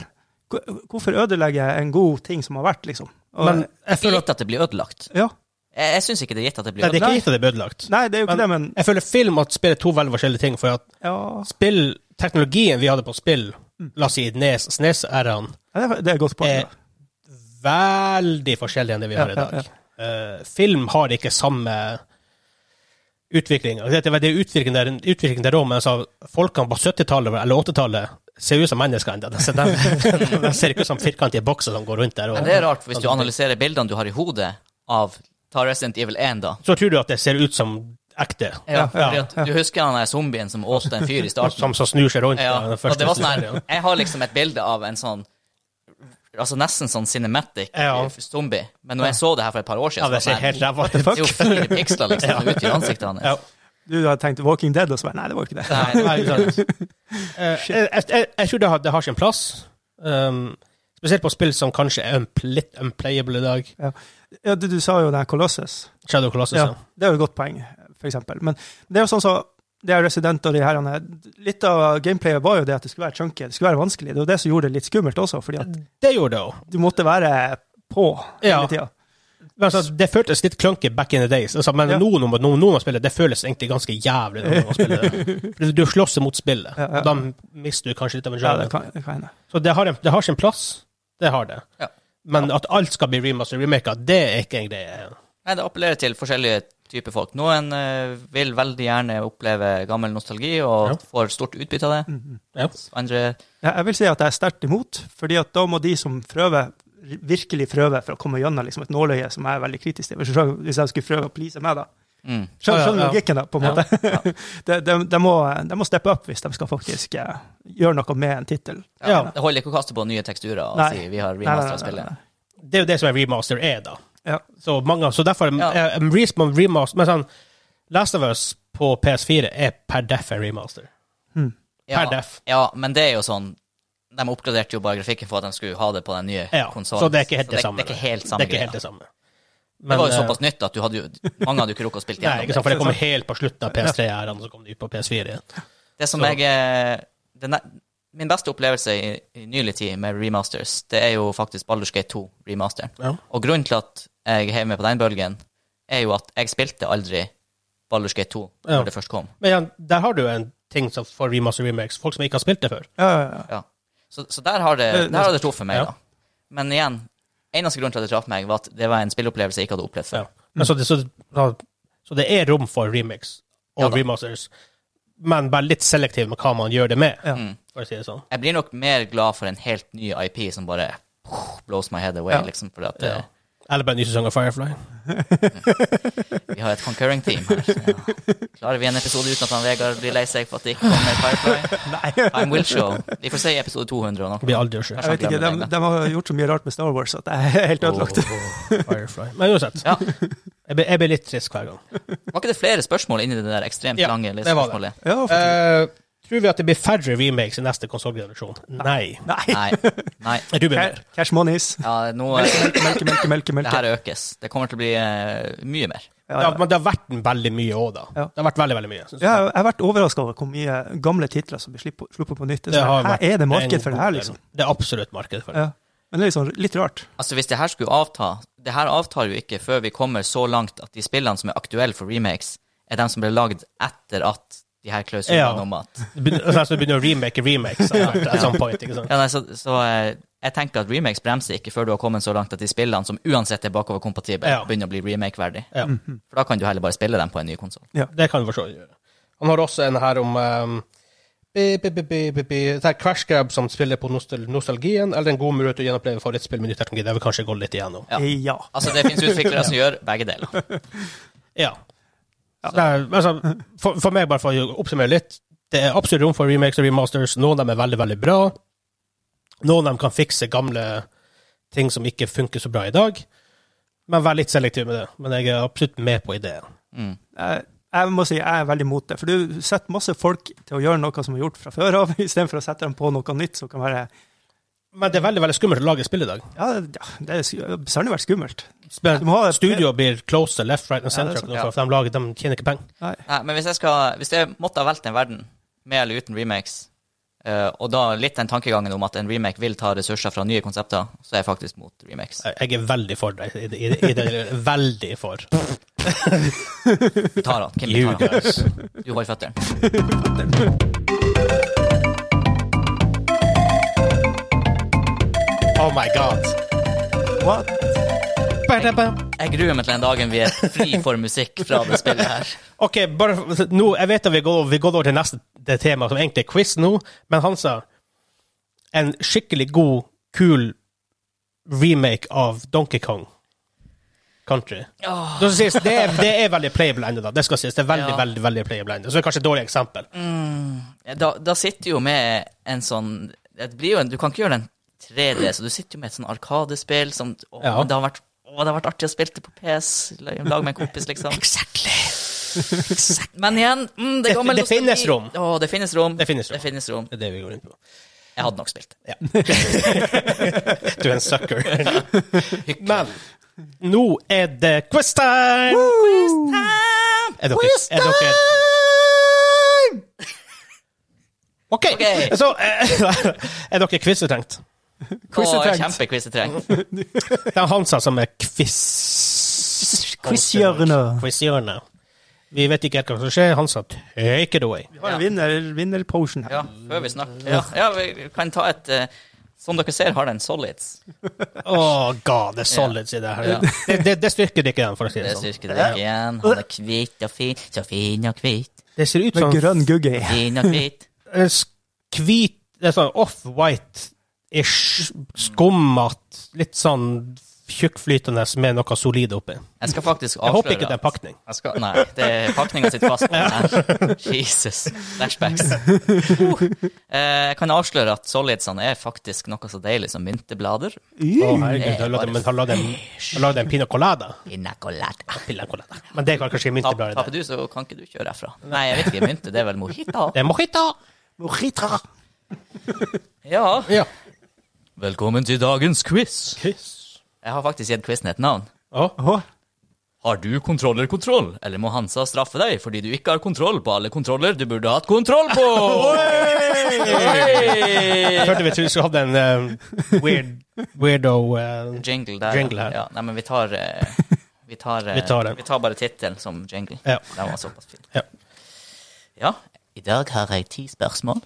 C: Hvor- Hvorfor ødelegge en god ting som har vært, liksom? Og,
A: Men jeg føler at
B: Gitt at det blir ødelagt.
C: ja.
B: Jeg, jeg syns ikke det er gitt at det blir
A: Nei, det er
B: ødelagt.
A: ikke gitt at det blir ødelagt.
C: Nei, det er jo ikke
A: Men-
C: det, men
A: Jeg føler film og spill er to veldig forskjellige ting. for at
C: ja,
A: spill, Teknologien vi hadde på spill, la oss si Nes, Snes-æraen,
C: Mm. Ja, det er- det er et godt poeng.
A: Eh,
C: da.
A: veldig forskjellig enn det vi har
C: Ja,
A: i dag.
C: ja,
A: Eh, film har ikke samme utvikling. Det er det er utvikling der, utvikling der også, men altså, folkene på 70-tallet eller 80-tallet ser ut som mennesker ennå. De, ser- de, de ser ikke ut som firkantige bokser som går rundt der. og-
B: Men det er rart, for hvis du analyserer bildene du har i hodet av Ta Resident Evil 1, da.
A: Så tror du at det ser ut som ekte,
B: Ja,
A: ja,
B: fordi at Du husker han der zombien som åt en fyr i starten?
A: som, som snur seg rundt.
B: Ja,
A: da, den
B: og
A: første
B: det var sånn her,
A: serien.
B: Jeg har liksom et bilde av en sånn Altså nesten sånn cinematic eh,
A: Ja.
B: zombie, men når jeg så det her for et par år
A: ja,
B: siden
A: det
B: så
A: ser
B: var jeg
A: helt
B: sånn her,
A: ræva ut.
B: Det er jo fire piksler liksom ut i ansiktet hans.
A: Ja.
C: Du har tenkt Walking Dead, og så bare Nei, det var ikke det.
B: Nei, det
A: Nei, ikke sant. Eh, jeg, jeg, jeg tror det har, det har sin plass. Um, spesielt på spill som kanskje er unpl litt unplayable i dag.
C: Ja, du, du sa jo den her Colossus.
A: Shadow Colossus.
C: Ja,
A: Ja.
C: det er jo et godt poeng, for eksempel. Men det er jo sånn så, det er Resident og de herrene Litt av gameplayet var jo det at det skulle være chunky, det skulle være vanskelig. Det var det som gjorde det litt skummelt også, fordi at
A: Det gjorde det òg.
C: du måtte være på hele
A: Ja.
C: tida.
A: Men altså, det føltes litt clunky back in the days. Altså, men
C: Ja.
A: nå når man- nå- nå man spiller, det føles egentlig ganske jævlig. Når man spiller det. For Du slåss mot spillet.
C: Ja, ja.
A: Da mister du kanskje litt av en
C: Ja,
A: genre.
C: det kan, det kan hende.
A: Så det har, en, det har sin plass. Det har det.
B: Ja.
A: Men at alt skal bli remaster remaka, det er ikke en greie.
B: Nei, det appellerer til forskjellige typer folk. Noen eh, vil veldig gjerne oppleve gammel nostalgi og
A: Ja.
B: får stort utbytte av det.
A: Ja.
B: Andre
C: Mm, Ja, jeg vil si at jeg er sterkt imot, fordi at da må de som prøver, virkelig prøve for å komme gjennom liksom et nåløye som jeg er veldig kritisk til. Hvis jeg- Hvis jeg skulle prøve å please meg, da.
B: mm.
A: Ja,
C: Skjønner,
A: ja,
C: skjønner
A: ja.
C: logikken, da, på en
B: Ja,
C: måte. de, de, de, må, de må steppe opp hvis de skal faktisk eh, gjøre noe med en tittel.
A: Ja.
B: Det holder ikke å kaste på nye teksturer og
C: Nei.
B: si vi har
C: Nei, nei,
B: remasteret
C: nei, nei,
B: spillet.
C: nei.
A: Det er jo det som en remaster er, da.
C: Ja.
A: Så, mange, så derfor
B: Ja.
A: eh, en res- man remaster Men sånn, Last of Us på PS4 er per def en remaster.
B: Ja,
A: Per def.
B: ja, men det er jo sånn De oppgraderte jo bare grafikken for at de skulle ha det på den nye
A: Ja,
B: konsolen.
A: så det er ikke helt det samme.
B: Det er ikke helt samme
A: det er ikke helt
B: greia.
A: det samme.
B: det var jo
A: eh,
B: såpass nytt at du hadde jo, mange hadde jo ikke rukket å spille
A: Nei,
B: gjennom
A: ikke
B: det.
A: sant, for det kommer helt på slutten av PS3-æraen, så kom det ut på PS4 igjen.
B: Det som
A: Så-
B: jeg eh, den, er- Min beste opplevelse i, i nylig tid med remasters, det er jo faktisk Baldur's Gate 2 remasteren.
A: Ja.
B: Og grunnen til at jeg heiv meg på den bølgen, er jo at jeg spilte aldri Baldur's Gate 2 når
A: Ja.
B: det først kom.
A: Men igjen, der har du jo en ting som for remaster remakes, folk som ikke har spilt det før.
C: Ja, ja, ja.
B: Ja. Så, så der har det,
C: Eh,
B: der har det truffet meg,
A: ja.
B: da. Men igjen, eneste grunn til at det traff meg, var at det var en spilleopplevelse jeg ikke hadde opplevd
A: Ja.
B: før.
A: Men så, det, så, så, så det er rom for remakes
B: Ja
A: og
B: da.
A: remasters, men bare litt selektiv med hva man gjør det med,
C: Ja.
B: Mm.
A: for å si det sånn.
B: Jeg blir nok mer glad for en helt ny IP som bare pff, blows my head away,
C: Ja.
B: liksom, fordi at
A: Ja.
B: eh,
A: Eller bare en ny sesong av Firefly.
B: Vi har et concurring team her. Ja. Klarer vi en episode uten at han Vegard blir lei seg for at det ikke kommer Firefly?
C: Nei,
B: Time will show. Vi får se i episode 200 og
A: Det
B: noe.
A: blir aldri å skje.
B: Ja.
C: jeg vet ikke. De, de har gjort så mye rart med Star Wars at jeg er helt ødelagt.
A: Firefly. Men uansett,
B: Ja.
A: jeg blir, jeg blir litt trist hver gang.
B: Var ikke det flere spørsmål inni det der ekstremt
A: Ja,
B: lange
A: det var
B: spørsmålet?
C: Ja, for-
A: Eh, tror vi at det blir færre remakes i neste konsollgenerasjon? Nei.
C: Nei.
B: Nei. Nei.
A: Jeg tror det blir
C: Ca-
A: mer.
C: Cash monies.
B: Ja, nå eh,
C: Melke, melke, melke, melke.
B: Det
C: melke.
B: her økes. Det kommer til å bli eh, mye mer.
C: Ja,
A: Det
C: ja.
A: har, men det har vært veldig mye òg, da.
C: Ja.
A: Det har vært veldig, veldig mye. synes
C: Ja,
A: jeg.
C: jeg har vært overraska over hvor mye gamle titler som blir slipp- sluppet på nytt. Det er
A: Det har
C: sånn,
A: vært
C: Her er det
A: en
C: marked for
A: god
C: det her,
A: del.
C: liksom.
A: Det er absolutt marked for det.
C: Ja. Men det er liksom litt rart.
B: Altså, hvis det her skulle avta Det her avtar jo ikke før vi kommer så langt at de spillene som er aktuelle for remakes, er dem som ble lagd etter at de her klausulene
A: Ja.
B: om at
A: Det begynner- altså, altså, det begynner å remake remakes at at some point. ikke sant?
B: Ja, nei, så, så eh, jeg tenker at remakes bremser ikke før du har kommet så langt at de spillene som uansett er bakoverkompatible,
A: Ja.
B: begynner å bli remake-verdig.
A: Ja.
B: For da kan du heller bare spille dem på en ny konsoll.
A: Det kan du forstå. Han har også en her om um, bi, bi, bi, bi, bi, bi. Det er Crash Grab som spiller på nostal nostalgien, eller en god mulighet til å gjenoppleve favorittspill med ny teknologi. Det vil kanskje gå litt igjennom.
B: Ja.
C: Eh, Ja.
B: Altså, det finnes utviklere som gjør begge deler.
A: Ja. Det er, altså, for, for meg, bare for å oppsummere litt, det er absolutt rom for remakes og remasters. Noen av dem er veldig, veldig bra. Noen av dem kan fikse gamle ting som ikke funker så bra i dag. Men vær litt selektiv med det. Men jeg er absolutt med på ideen.
B: Mm.
C: Jeg, jeg må si jeg er veldig mot det. For du setter masse folk til å gjøre noe som er gjort fra før av, istedenfor å sette dem på noe nytt som kan være
A: Men det er veldig, veldig skummelt å lage et spill i dag.
C: Ja, det- ja, det er sk- sannelig vært skummelt.
A: Spennende.
C: Du må ha et
A: Studio blir closer left, right and
C: Ja,
A: center,
C: det er sant,
B: ja.
A: for de, lager, de tjener ikke penger.
C: Nei.
B: Nei, men hvis jeg, skal, hvis jeg måtte ha valgt en verden, med eller uten remakes, eh, og da litt den tankegangen om at en remake vil ta ressurser fra nye konsepter, så er jeg faktisk mot remakes.
A: Jeg er veldig for deg. I, det- i, det- i det, veldig for.
B: Du tar han. Kim,
A: You
B: du tar han.
A: guys.
B: Du holder føttene.
A: Oh my god.
C: What?
B: Jeg gruer meg til den dagen vi er fri for musikk fra det spillet her.
A: Ok, bare, nå, jeg vet at vi går, vi går over til neste det tema, som egentlig er quiz nå, men han sa en skikkelig god, kul remake av Donkey Kong Country.
B: Åh.
A: Det, skal sies, det, er, det er veldig playable ennå, da. Det skal sies. Det er veldig,
B: Ja. Mm.
A: veldig, veldig playable ennå. Så det er kanskje et dårlig eksempel.
B: da, da sitter jo med en sånn det blir jo en, Du kan ikke gjøre den 3D, så du sitter jo med et sånn Arkadespill som å,
A: Ja.
B: det, har vært, å, det har vært artig å spille det på PS. la- Lag med en kompis, liksom. exactly. Men igjen mm, det,
A: Det-
B: gammel
A: det finnes
B: nostalgi.
A: rom.
B: Å, det finnes rom.
A: Det finnes rom.
B: Det finnes rom.
A: Det er det vi går inn på.
B: Jeg hadde nok spilt.
A: Ja. du er en sucker. Men nå er det quiz time! Er dere, er dere OK.
B: Ok.
A: Så eh, er dere quizetenkt?
B: Og
C: Quizetrengt.
B: kjempekvisetreng.
A: Det er Hansa som er quiz...
C: Quizhjørne.
A: Quizhjørne. Vi vet ikke helt hva som skjer. Hansa, take it away.
C: Vi har en vinner, vinnerpotion her.
B: Ja, før vi snakker. Ja, ja, vi kan ta et eh, Som dere ser, har den solids.
A: Åh, Oh, god, det er solids i det her.
B: Ja.
A: Det, det, det styrker det ikke igjen, for å si
B: Det
A: det
B: er
A: sånn.
B: styrke det ikke igjen. Han er hvit og fin, så fin og hvit.
A: Det ser ut
C: Med
A: som
C: grønn gugge i.
B: Fin og hvit.
A: en sk- hvit det er sånn Off-white-ish skummat, litt sånn tjukkflytende med noe solid oppi. Jeg
B: Jeg skal faktisk avsløre
A: håper ikke det er
B: at-
A: pakning.
B: jeg skal, Nei, det er pakninga sitt fast på den her. Jesus. Flashbacks. Uh, eh, jeg kan avsløre at solidsene er faktisk noe så deilig som mynteblader.
A: Å, herregud, jeg har lagd-
B: bare
A: men jeg har lagd en, jeg har lagd en pina colada.
B: Pina colada.
A: Pina colada. Men det kan kanskje ikke
B: Tap-
A: mynte
B: Taper du, så kan ikke du kjøre herfra. Nei, jeg vet ikke. Mynte, det er vel mojito?
A: Det er mojito!
C: Mojita.
B: Ja.
A: Ja.
B: Velkommen til dagens quiz. Jeg har faktisk gitt quizen et navn.
A: Å,
C: Åh,
B: Har du kontrollerkontroll, eller må Hansa straffe deg fordi du ikke har kontroll på alle kontroller du burde hatt kontroll på?
A: Jeg
B: Oi!
A: hørte vi trodde vi skulle hatt en eh, weird, weirdo eh,
B: Jingle der.
A: Jingle her.
B: Ja, nei, men vi tar eh, Vi tar, eh,
A: Vi tar den.
B: vi tar bare tittelen som jingle.
A: Ja.
B: Den var såpass fin.
A: Ja.
B: Ja. I dag har jeg ti spørsmål.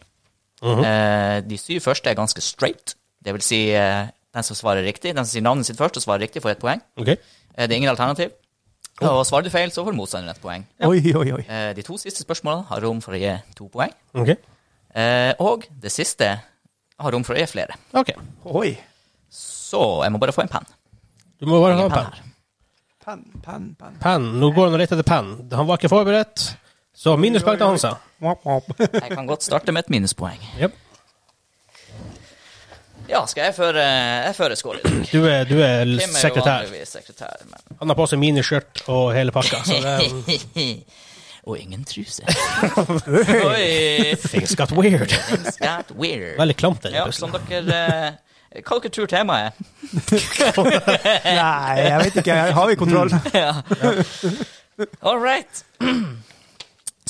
A: Mhm.
B: Eh, de syv første er ganske straight. Det vil si, eh, den som svarer riktig, den som sier navnet sitt først og svarer riktig, får et poeng.
A: Ok.
B: Eh, det er ingen alternativ.
A: Oh.
B: Og svarer du feil, så får motstanderen et poeng.
C: Oi, oi, oi.
B: Eh, de to siste spørsmålene har rom for å gi to poeng.
A: Ok.
B: Eh, og det siste har rom for å gi flere.
A: Ok.
C: Oi.
B: Så jeg må bare få en penn.
A: Du må bare ha
B: Ingen
A: en
B: penn
A: penn.
B: her.
C: Penn, penn, penn.
A: Penn. Nå går han og leter etter penn. Han var ikke forberedt, så minuspoeng til Hansa.
C: Wap, wap.
B: Jeg kan godt starte med et minuspoeng.
A: Jep.
B: Ja, skal jeg føre, eh, jeg fører skål i dag.
A: Du er, du er l-
B: Kim er jo
A: sekretær.
B: vanligvis sekretær, men
A: Han har på seg miniskjørt og hele pakka. Så det
B: Og ingen truse. Oi!
A: Things got weird.
B: Things got weird.
A: Veldig klamt, den
B: ja, sånn. som
A: plutselig.
B: dere eh, Hva dere tror temaet er?
C: Nei, jeg vet ikke. Har vi kontroll?
A: Mm.
B: Ja. All right.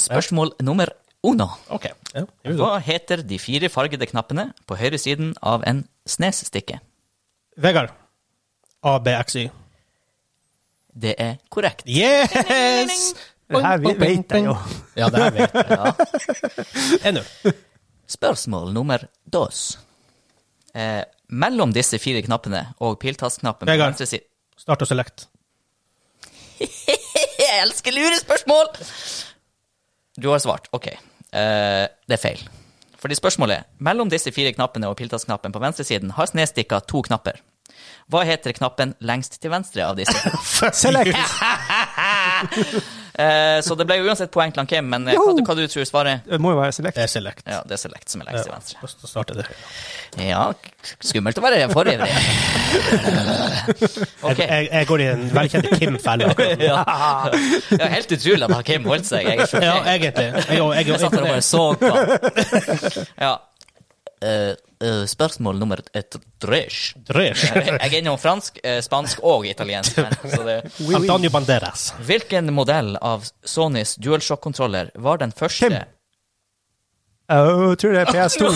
B: Spørsmål nummer uno.
A: Ok. Ja, gjør vi det.
B: Hva heter de fire fargede knappene på høyre siden av en snesstikke?
A: Vegard. ABXY.
B: Det er korrekt.
A: Yes!
C: Det her vi- vet jeg jo.
A: Ja, det her vet jeg.
B: Ja.
A: 1-0.
B: Spørsmål nummer dos. Eh, mellom disse fire knappene og piltastknappen på
A: Vegard.
B: venstre side
A: Start og select.
B: Jeg elsker lure spørsmål! Du har svart. Ok. Eh, det er feil. Fordi spørsmålet er mellom disse fire knappene og piltastknappen på venstresiden har snestikka to knapper. Hva heter knappen lengst til venstre av disse?
C: Select.
B: Eh, så det ble jo uansett poeng til han Kim, men eh, hva, hva du tror svaret
C: Det må jo være select.
A: Det er select.
B: Ja, det er Select som er lengst til
A: Ja,
B: venstre.
A: så starter det.
B: Ja, k- skummelt å være forivrig.
A: Jeg,
B: Ok.
A: jeg, jeg går i en velkjent Kim-felle. akkurat nå.
B: Ja. Det er helt utrolig at han Kim holdt seg. Jeg er sjokkert.
A: Ja, egentlig. Jeg, jeg, jeg,
B: Jeg satt der og bare
A: jeg,
B: så på. han. Ja. Eh, eh, spørsmål nummer et dresh.
A: Dresh.
B: Jeg er innom fransk, eh, spansk og italiensk. Men, så det.
C: Oui, oui.
A: Eh, Antonio Banderas.
B: Hvilken modell av Sonys DualShock-kontroller var den første
C: Kim. Jeg Eh, tror det er PS2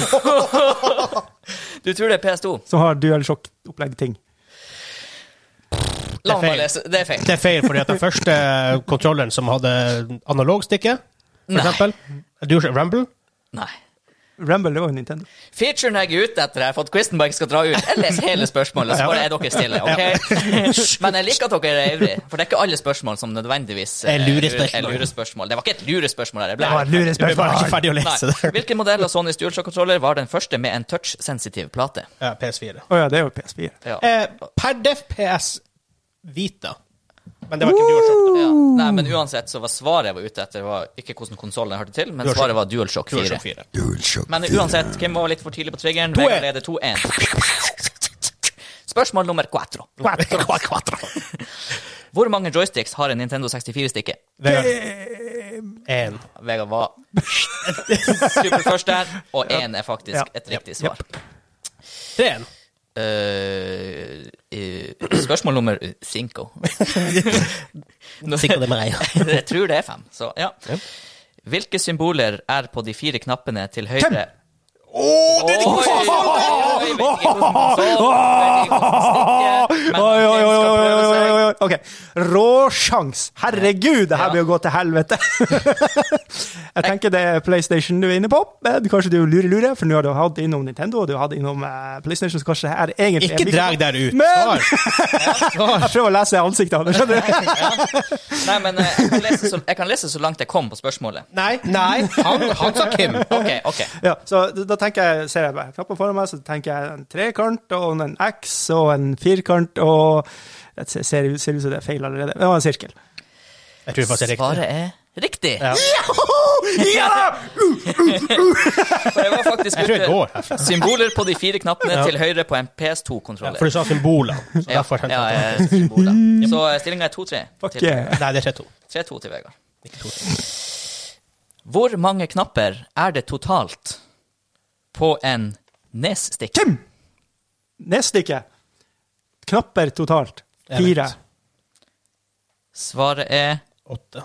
B: Du tror det er PS2?
C: som har duellsjokk-opplegg-ting.
B: La
A: Det er
B: meg bare
A: feil.
B: lese. Det er feil.
A: Det er feil, fordi at den første eh, kontrolleren som hadde analogstikke, for
B: Nei.
A: eksempel du, Rumble?
B: Nei.
C: Rumble, det var jo Nintendo.
B: Featuren jeg er ute etter, jeg har fått Quistenberg skal dra ut. Jeg leser hele spørsmålet, så bare er dere stille. ok? Men jeg liker at dere er ivrige, for det er ikke alle spørsmål som nødvendigvis eh,
A: Er lurespørsmål.
B: er lurespørsmål. Det var ikke et lurespørsmål. her, Jeg ble
C: Det var et lure
A: Jeg var ikke
C: spørsmål.
A: ferdig å lese
B: Nei.
A: det.
B: Hvilken modell av Sonys DualShock-kontroller var den første med en touch-sensitiv plate?
A: Ja, PS4.
C: Å ja, det er jo PS4.
B: Ja.
A: Eh, per def PS Vita. Men det var ikke DualShock.
B: Ja. Nei, men uansett så var svaret jeg var ute etter, var ikke hvordan konsollen hørte til, men
A: DualShock.
B: svaret var DualShock 4.
A: DualShock 4.
B: Men uansett, Kim var litt for tidlig på triggeren.
A: 2-1.
B: Vegard leder 2-1. Spørsmål nummer quattro. Hvor mange joysticks har en Nintendo 64-stikke?
A: Vegard. En.
B: Vegard var super først der, og én er faktisk
C: Ja.
B: et riktig svar.
A: Tre en.
B: Eh, eh, spørsmål nummer cinco. Nå-
A: det med deg.
B: Jeg tror det er fem, så ja. Hvilke symboler er på de fire knappene til høyre? Oi, oi, oi, oi, vet ikke hvordan den så, vet ikke hvordan den stikker, men
C: Oi, oi, oi,
B: den skal
C: oi,
B: prøve
C: oi,
B: seg.
C: oi, oi. Ok. Råsjans! Herregud, det her
B: Ja.
C: blir å gå til helvete. Jeg tenker det er PlayStation du er inne på. Eh, du- Kanskje du lurer-lurer, for nå har du hatt innom Nintendo og du har hatt innom eh, PlayStation, så kanskje det her egentlig er
A: Ikke
C: like-
A: drag der ut.
C: Men-
A: Svar.
C: Jeg prøver å lese ansiktet hans, skjønner du?
B: Nei, men eh, jeg kan, lese så, jeg kan lese så langt jeg kom på spørsmålet.
A: Nei, nei. Han, han sa Kim.
B: Ok, ok.
C: Ja, så da- da tenker jeg, ser jeg bare knappen foran meg, så tenker jeg en trekant og en X og en firkant og Det ser- ser ut ser ut som det er feil allerede. Det var en sirkel.
A: Jeg tror faktisk det er riktig.
B: Svaret er riktig.
A: Ja.
C: Ja da!
B: For jeg var faktisk
A: Jeg tror jeg
B: ute
A: går herfra.
B: Symboler på de fire knappene
A: Ja.
B: til høyre på en
A: Ja,
B: PS2-kontroller.
A: For du sa symboler. Så
B: Ja,
A: derfor
B: ja,
A: kjente jeg at-
B: eh, symboler. Så eh, stillinga er 2-3.
C: Fuck
B: til-
C: yeah.
A: Nei, det er 3-2.
B: 3-2 til Vegard.
A: Ikke 2-3.
B: Hvor mange knapper er det totalt på en nesstikk?
C: Kim! Neste ikke. Knapper totalt.
A: Jeg vet.
C: Fire.
B: Svaret er
A: Åtte.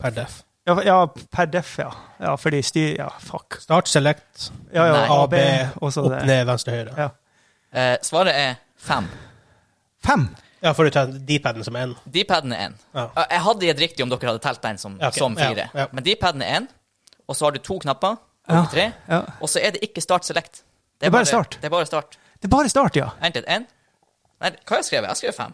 A: Per def.
C: Ja, ja per def, ja. ja. Fordi styr Ja, fuck.
A: Start, select,
C: Ja, ja,
B: Nei.
C: A,
A: A,
C: B,
A: B,
C: og så
A: opp,
C: det.
A: ned, venstre, høyre.
C: Ja.
B: eh, Svaret er fem.
C: Fem!
A: Ja, får du ta D-paden som en.
B: D-paden er én.
A: Ja.
B: Eh, Jeg hadde gitt riktig om dere hadde telt den som,
A: Ja, ok.
B: som fire.
A: Ja, ja.
B: Men D-paden er én, og så har du to knapper.
C: Ja.
B: Og tre.
C: Ja.
B: Og så er det ikke start select.
C: Det er bare start.
B: Det er bare start.
C: Det er bare start, ja.
B: Vent litt. En. Nei, hva har jeg skrevet? Jeg har skrevet fem.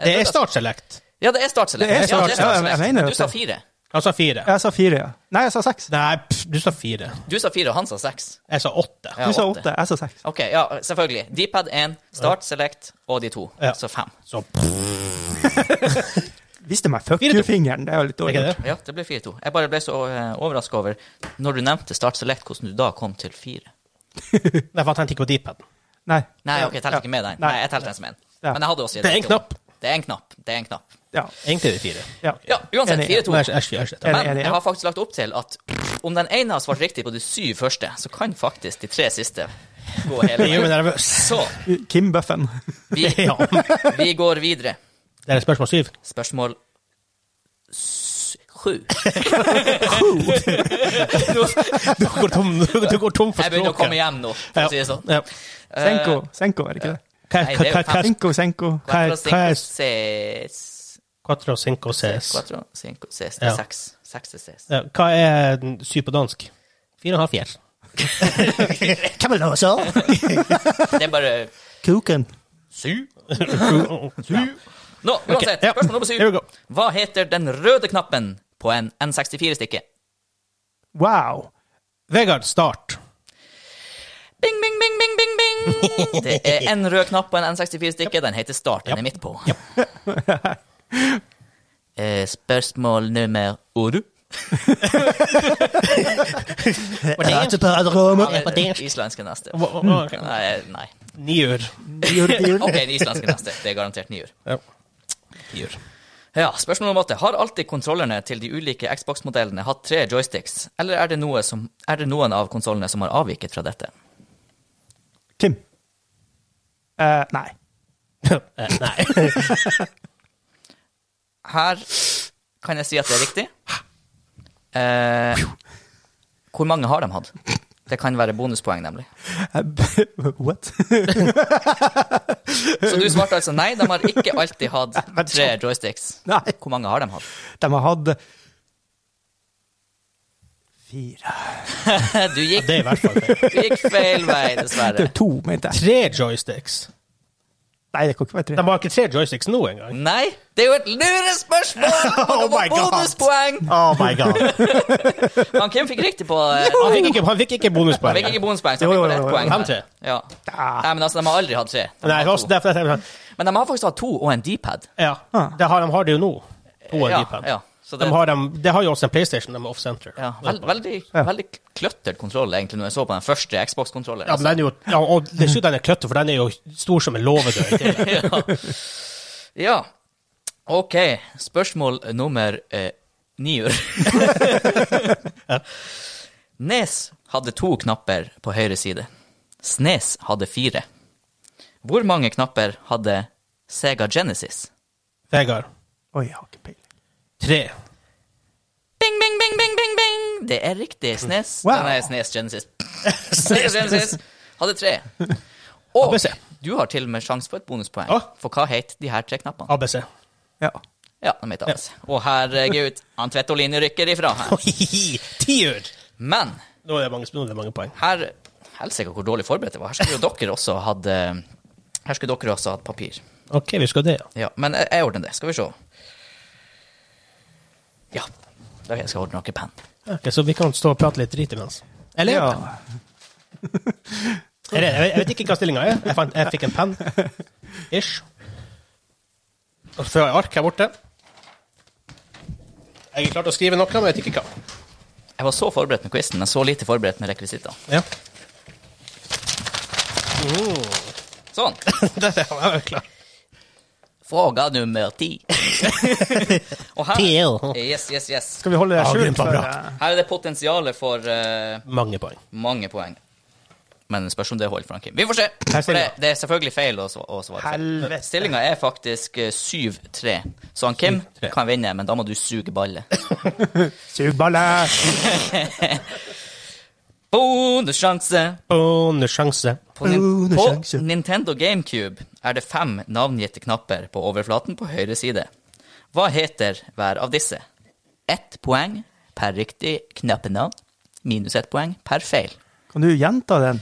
A: Det er
B: Jeg-
A: start, select.
B: Ja, det er start select.
C: Det er
B: Ja,
C: start- ja, jeg- jeg
B: select.
C: mener
B: Men
C: det.
B: Du sa fire.
A: Han sa Altså fire.
C: Jeg sa fire, ja. Nei, jeg sa seks.
A: Nei, pff, du sa fire.
B: Du sa fire, og han sa seks.
A: Jeg sa åtte.
B: Ja.
C: Du sa
B: åtte.
C: åtte, jeg sa seks.
B: OK, ja, selvfølgelig. D-pad 1, start select og de to.
A: Ja.
B: Så fem.
A: Så pff,
C: Visste meg fuck
A: Fire, to.
C: you-fingeren, det er jo litt
A: er
C: dårlig.
A: ikke det?
B: Ja, det ble 4-2. Jeg bare ble så overraska over, når du nevnte Start Select, hvordan du da kom til 4.
A: Nei, for han tenkte ikke på D-paden.
C: Nei.
B: Nei, ok, jeg telte
C: Ja.
B: ikke med den.
C: Nei.
B: Nei, jeg telte den som en.
C: Ja.
B: Men jeg hadde også
A: Det er en
B: riktig om.
A: knapp.
B: Det er en knapp. Det er en knapp.
C: Ja.
A: Egentlig er det fire.
C: ja.
B: Ja, uansett,
C: Enig.
B: 4-2.
A: Nei, jeg- jeg- jeg- jeg- jeg-
C: Enig.
B: Men jeg har faktisk lagt opp til at om den ene har svart riktig på de syv første, så kan faktisk de tre siste gå hele
A: Det gjør meg
B: veien.
A: nervøs.
B: Så
C: Kim Buffen.
B: vi,
A: Ja.
B: vi går videre.
A: Det er spørsmål syv.
B: Spørsmål s- sju. Jeg
A: Du går tom, du går tom for
B: begynner å komme
A: språket.
B: hjem nå, for å si det sånn.
A: Ja.
C: Senko, Senko, er det
B: eh,
C: ikke det?
A: Hva-
B: Nei,
A: hva-
B: det er jo
A: hva- hva-
C: Senko, Senko.
A: Hva-
B: Quattro,
A: hva
B: cinco,
A: er-
B: seis
A: Quattro, cinco, ses.
B: Quattro, cinco, seis
A: Ja.
B: Seks. Seks til seis.
A: Ja, Hva er den syv på dansk? Fire og en halv fjell. Hva vil du så?
B: Det er bare
C: Kuken.
B: Syv.
A: Syv.
B: Nå, uansett,
A: ja.
B: spørsmål nummer
A: Here we
B: syv.
A: go.
B: Hva heter den røde knappen på en N64-stikke?
C: Wow.
A: Vegard, start.
B: Bing, bing, bing, bing, bing, bing! Det er en rød knapp på en N64-stikke. Den heter Start. Den er midt på. Eh, Spørsmål nummer åtte. Islandske neste. Nei, eh, nei.
A: Nier.
B: OK, den islandske neste. Det er garantert nier.
A: Ja. Nier.
B: Ja, spørsmål nummer åtte. Har alltid kontrollerne til de ulike Xbox-modellene hatt tre joysticks, eller er det, noe som, er det noen av konsollene som har avviket fra dette?
C: Kim. Eh, nei.
A: Eh, Nei.
B: Her kan jeg si at det er riktig. Eh, hvor mange har de hatt? Det kan være bonuspoeng, nemlig.
C: Eh, b- What?
B: Så du svarte altså nei, de har ikke alltid hatt tre joysticks.
C: Nei.
B: Hvor mange har de hatt?
C: De har hatt Fire
B: Du gikk,
A: Det er i hvert fall det.
B: du gikk feil vei,
C: Det
B: dessverre.
C: er to, mente jeg.
A: Tre joysticks.
C: Nei, det kan ikke være tre.
A: De har ikke tre joysticks nå engang.
B: Nei, det er jo et lurespørsmål! Og det
A: Oh my
B: var
A: God.
B: bonuspoeng!
A: Oh my god.
B: Han Kim fikk riktig på eh,
A: Han fikk ikke, han fikk ikke bonuspoeng.
B: Han fikk ikke bonuspoeng, så
C: Jo,
B: han fikk
C: jo,
B: bare
C: jo,
B: ett
C: jo.
B: poeng.
A: Fem,
B: der.
A: tre.
B: Ja.
C: Da.
B: Nei, men altså, de har aldri hatt tre. De
A: Ah. Nei, det
B: har
A: var også
B: to.
A: derfor jeg tenkte
B: Men de har faktisk hatt to og en D-pad.
A: Ja, det har, de har det jo nå. To av
B: Ja,
A: D-pad.
B: ja. Så
A: De
B: det,
A: har, dem- de har jo også en PlayStation, de er off-center.
B: ja. Vel, veldig, veldig kløttert kontroll, egentlig, når jeg så på den første Xbox-kontrolleren.
A: Ja, men den er jo, ja, og dessuten den er kløtte, for den er jo stor som en låvedør. i tillegg.
B: Altså, ja. ja. OK. Spørsmål nummer eh, nier. Nes hadde to knapper på høyre side. Snes hadde fire. Hvor mange knapper hadde Sega Genesis?
A: Vegard,
C: Oi, jeg har ikke peiling.
A: tre.
B: Bing, bing, bing, bing, bing, bing! Det er riktig. Snes.
C: Wow.
B: Nei, nei, Snes Genesis. Snes Genesis hadde tre. Og
A: ABC.
B: du har til og med sjanse for et bonuspoeng.
A: Å.
B: For hva het de her tre knappene?
A: ABC.
C: Ja.
B: Ah. Ja, de het ABC. Og herregud, han Tvettolini rykker ifra her.
A: Tiur!
B: Men
A: Nå er det mange, nå er det mange poeng.
B: her Helsike, hvor dårlig forberedt jeg var. Her skulle jo dere også hatt eh, Her skulle dere også hatt papir.
A: OK, vi skal det, ja.
B: Ja, men eh, jeg, jeg ordner det. Skal vi se. Ja. Ok, jeg skal ordne noe penn.
A: Ok, så vi kan stå og prate litt drit imens. Eller?
C: ja.
A: Er det- Jeg, jeg vet ikke hva stillinga er. Jeg, fant, jeg fikk en penn. Ish. Og så får jeg ark her borte. Jeg er klar til å skrive noe, men jeg vet ikke hva.
B: Jeg var så forberedt med quizen, men så lite forberedt med rekvisitter.
A: Ja.
B: Sånn.
A: Der er jeg jo klar.
B: Fråga nummer ti. Og her,
A: Til.
B: yes, yes, yes.
C: Skal vi holde det
A: Ja,
C: skjult?
A: Glimt var
C: for,
A: bra.
C: eh,
B: her er det potensialet for eh,
A: Mange poeng.
B: mange poeng. men spørs om det holder, Frank Kim. Vi får se! For det, det er selvfølgelig feil å sva- å svare feil.
C: Helvete.
B: Stillinga er faktisk eh, 7-3, så han Kim
A: 7-3.
B: kan vinne, men da må du suge ballet.
C: Sug balle!
B: Bonussjanse!
A: Bonussjanse.
B: På, nin
C: Bonussjanse.
B: på Nintendo GameCube er det fem navngitte knapper på overflaten på høyre side. Hva heter hver av disse? Ett poeng per riktig knappenavn, minus ett poeng per feil.
C: Kan du gjenta den?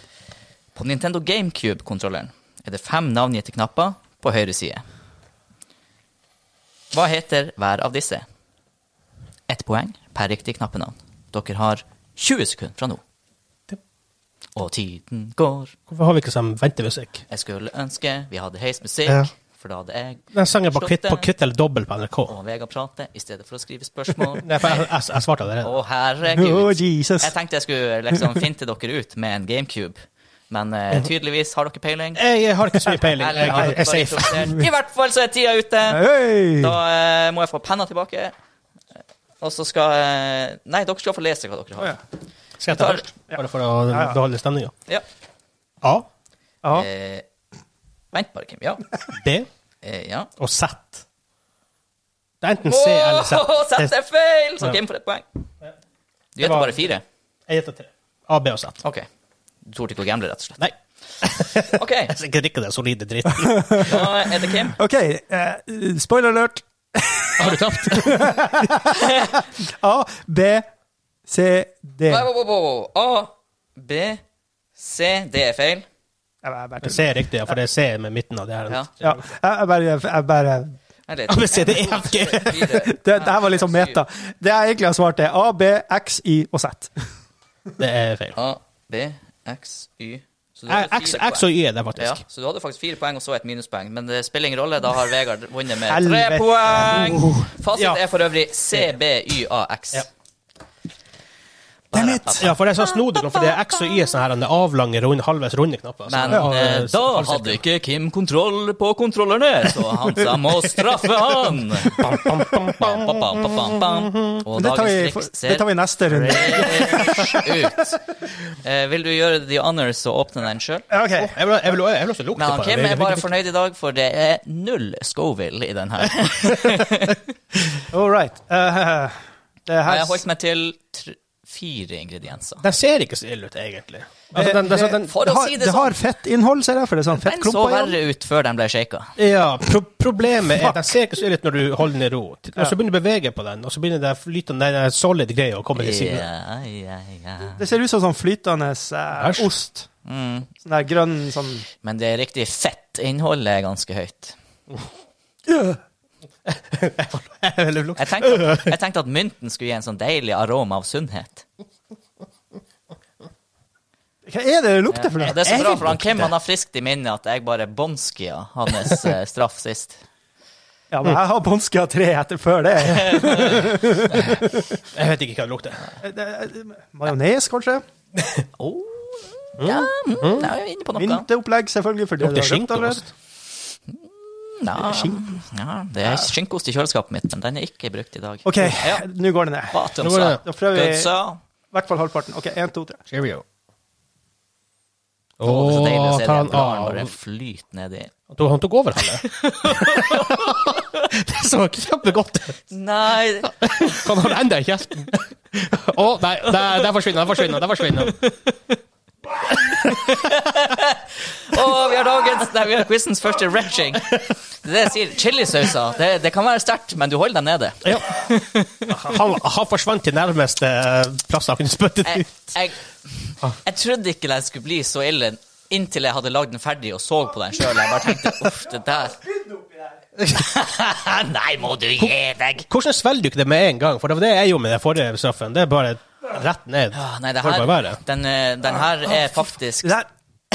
B: På Nintendo GameCube-kontrolleren er det fem navngitte knapper på høyre side. Hva heter hver av disse? Ett poeng per riktig knappenavn. Dere har 20 sekunder fra nå. Og tiden går.
A: Hvorfor har vi ikke sånn ventemusikk?
B: Jeg skulle ønske vi hadde heis musikk,
A: Ja.
B: for da hadde jeg
A: Den sangen på
B: Slått
A: kvitt, på
B: det.
A: kvitt eller dobbel på NRK.
B: og Vegard prate i stedet for å skrive spørsmål.
A: Nei, for jeg, jeg, jeg svarte allerede.
B: Å, herregud.
C: Å, Jesus.
B: Jeg tenkte jeg skulle liksom finte dere ut med en GameCube, men eh, tydeligvis har dere peiling.
A: Jeg, jeg har ikke så mye peiling.
B: Eller
A: Jeg,
B: har
A: jeg,
B: dere
A: jeg
B: bare
A: er safe.
B: introdusert? I hvert fall så er tida ute.
C: Hei!
B: Da eh, må jeg få penna tilbake. Og så skal eh, Nei, dere skal få lese hva dere
C: Å, ja.
B: har.
A: Skal jeg ta først? Bare for å
C: ja.
A: beholde stemninga.
B: Ja.
A: A,
C: Ja.
B: Eh, vent bare, Kim. Ja.
A: B
B: Eh, ja.
A: og Z. Det er enten C eller Z.
B: Åh, Sett
A: Det-
B: er feil!
A: Ja.
B: Så Kim får et poeng. Du
A: Det
B: gjetter
A: var-
B: bare fire.
A: Jeg gjetter tre. A, B og Z.
B: OK. Du torde ikke å gamble, rett og slett.
A: Nei,
B: OK,
A: jeg skal ikke drikke den solide dritten.
B: da er det Kim.
C: OK, eh, spoiler alert.
B: Har du tapt?
C: A, B, C, D. Jeg,
B: A, B, C Det er feil.
C: jeg, bare-
A: C er riktig, ja, for det er C med midten av det her.
B: Ja.
C: ja, jeg, jeg bare, jeg bare
B: Vent litt.
A: A, B, C, D, E, F, G.
C: det, det her var liksom meta. Det jeg egentlig har svart, er A, B, X, Y og Z.
A: Det er feil.
B: A, B, X, Y Så du hadde
A: X,
B: fire
A: X
B: poeng.
A: og Y er det,
B: Ja,
A: faktisk.
B: så du hadde faktisk fire poeng og så et minuspoeng, men det spiller ingen rolle. Da har Vegard vunnet med
C: Helvete.
B: tre poeng! Fasit
A: Ja.
B: er for øvrig C, B, Y, A, X.
A: Ja.
B: Damn it!
A: Ja, for det er så snodig, nå, for det er X og Y er sånne her den avlange, runde, halvveis runde knapper.
B: Men
A: Så-
B: eh,
A: Ja,
B: da
A: halv
B: hadde
A: sirkel.
B: ikke Kim kontroll på kontrollerne, så Hansa må straffe han! Bam, bam, bam, bam, bam, bam, bam. Og
C: Mm-hmm. Men det tar, vi,
B: dagens triks ser
C: det tar vi i neste runde.
B: fresh ut. Eh, vil du gjøre the honors og åpne den sjøl?
C: Ja, OK.
A: Jeg vil, jeg vil, jeg vil også lukte
B: Men han
A: på det.
B: Kim
A: Vi-
B: er
A: vi-
B: bare
A: vi-
B: fornøyd i dag, for det er null Scoville i den her.
C: All right. Eh, det
B: Jeg
C: her
B: har holdt meg til tr- fire ingredienser.
A: Den ser ikke så ille ut, egentlig. Altså, den, den, den,
B: For
C: det
B: å
C: har,
B: si det
C: det har
B: sånn,
C: fettinnhold, ser jeg, for det er sånn
B: den så
C: fettklumper igjen.
B: verre ut før den ble shaka.
A: ja, pro problemet er at den ser ikke så ille ut når du holder den i ro. Og så begynner du å bevege på den, og så begynner den flytende, den der solid greia å komme til siden.
B: Ja, ja, ja.
C: Det ser ut som sånn flytende eh,
A: Æsj.
C: ost.
B: Mm.
C: Sånn der grønn sånn
B: Men det riktige fettinnholdet er ganske høyt. Jeg tenkte, at, jeg tenkte at mynten skulle gi en sånn deilig aroma av sunnhet.
C: Hva er det det lukter for
B: Ja,
C: noe?
B: det er så bra, for han
A: Egentlig.
B: Kim han har friskt i minnet at jeg bare bonskia hans eh, straff sist.
C: Ja, men jeg har Bonskia 3 etter før det.
A: Jeg vet ikke hva det lukter.
C: Eh, det- Majones, kanskje?
B: Oh, ja, mm, jeg er inne på noe.
C: Vinteropplegg, selvfølgelig. For det
A: Lukter
C: du har kjøpt allerede.
A: skinkeost.
B: Mm, Ja, ja, det er skinkeost i kjøleskapet mitt, men den er ikke brukt i dag.
C: OK,
B: Ja.
C: nå går det ned.
A: Nå er
B: Batumsa.
A: det-
C: Da prøver vi
B: Gutsa.
C: i hvert fall halvparten. OK, én, to, tre.
A: Cheerio.
B: Å, det er så deilig å
A: Å,
B: se
A: ta
B: det
A: han
B: bladet bare
A: av.
B: flyte nedi.
A: Han tok- Han tok over halve. det så kjempegodt ut.
B: Nei,
A: Han har enda i kjeften. Å, nei, der, der forsvinner han, forsvinner han, der forsvinner han.
B: Å, vi har dagens Nei, vi har quizens første retching. Det er det jeg sier. Chilisauser. Det, det kan være sterkt, men du holder deg nede.
A: Ja. Han, han forsvant til nærmeste eh, plass han kunne spytte
B: jeg,
A: ut.
B: jeg, jeg trodde ikke den skulle bli så ille inntil jeg hadde lagd den ferdig og så på den sjøl. Jeg bare tenkte uff, det der Nei, må du gi deg!
A: Hvordan svelger du ikke det med en gang? For det var det jeg gjorde med den forrige straffen. Det er bare rett ned.
B: Ah, Nei, det
A: Får
B: her,
A: bare være.
B: den, eh, den her
C: Ah,
B: er faktisk
C: Det, her,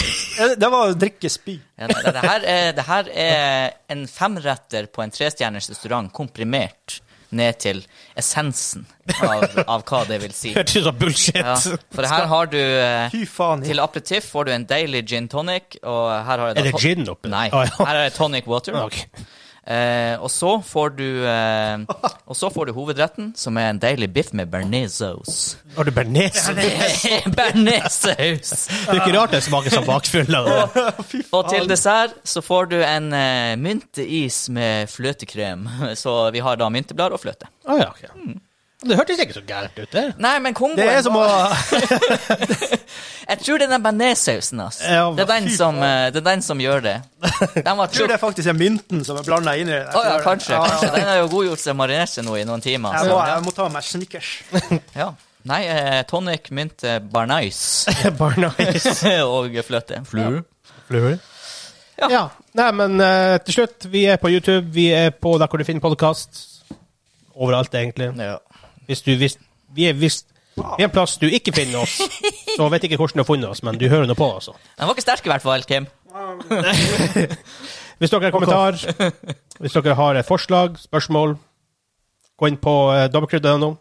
C: det var å drikke spy.
B: ja, nei, det, her er, det her er en femretter på en trestjerners restaurant komprimert ned til essensen av, av hva det vil si.
A: Hørtes ut som sånn bullshit.
B: Ja, for her har du eh,
C: Fy faen.
B: Til aperitiff får du en deilig gin tonic, og her har jeg da
A: Er det
B: to-
A: gin oppi?
C: Ah,
B: Nei.
A: Å, ja.
B: Her er det tonic water.
A: Ok.
B: Eh, og så får du eh, Og så får du hovedretten, som er en deilig biff med bearnéssaus.
A: Har du bearnés?
B: bearnéssaus!
A: Det er ikke rart det smaker som bakfylla. da.
B: Og til dessert så får du en eh, mynteis med fløtekrem. Så vi har da mynteblad og fløte.
A: Ah, ja, ok.
B: Mm.
A: Det hørtes ikke så gærent ut, det.
B: Nei, men Kongoen
C: Det er som å
B: Jeg tror det er den bearnéssausen, ass.
A: Ja,
B: det, er den
A: fy
B: som, eh, det er den som gjør det. Den var
C: Jeg tror
B: tjukk.
C: det faktisk er mynten som er blanda inn i det.
B: Å ja, kanskje.
C: Ja,
B: kanskje.
C: ja.
B: Den har jo godgjort seg og marinert seg nå i noen timer.
C: Jeg må,
B: Så,
C: jeg må ta meg snickers.
B: ja. Nei, eh, tonic, mynte, barnais
A: Barnais.
B: og fløte. Flue.
A: Ja. ja. Nei, men eh, til slutt, vi er på YouTube, vi er på der hvor du finner podkast. Overalt, egentlig.
B: Ja.
A: Hvis du hvis, Vi er hvis vi er en plass du ikke finner oss, så vet ikke hvordan du har funnet oss, men du hører nå på, altså.
B: Den var ikke sterk i hvert fall, Kim.
A: Hvis dere har kommentar, hvis dere har et forslag, spørsmål, gå inn på eh, dobbeltkrydder.no.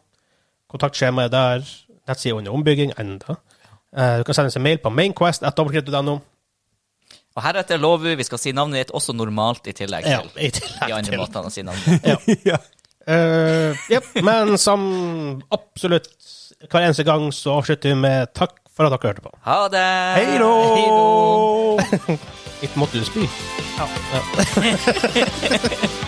A: Kontaktskjemaet er der. Nettsida under ombygging enda. Eh, du kan sende oss en mail på mainquest.dobbeltkrydder.no.
B: Og heretter lover vi vi skal si navnet ditt også normalt i tillegg
A: Ja,
B: til
A: i tillegg
B: de andre
A: til.
B: måtene å si navnet
C: ja.
A: Eh, jep, Men som absolutt hver eneste gang så avslutter vi med takk for at dere hørte på.
B: Ha det!
C: Hei då!
A: Ikke måtte du spy.
C: Ja.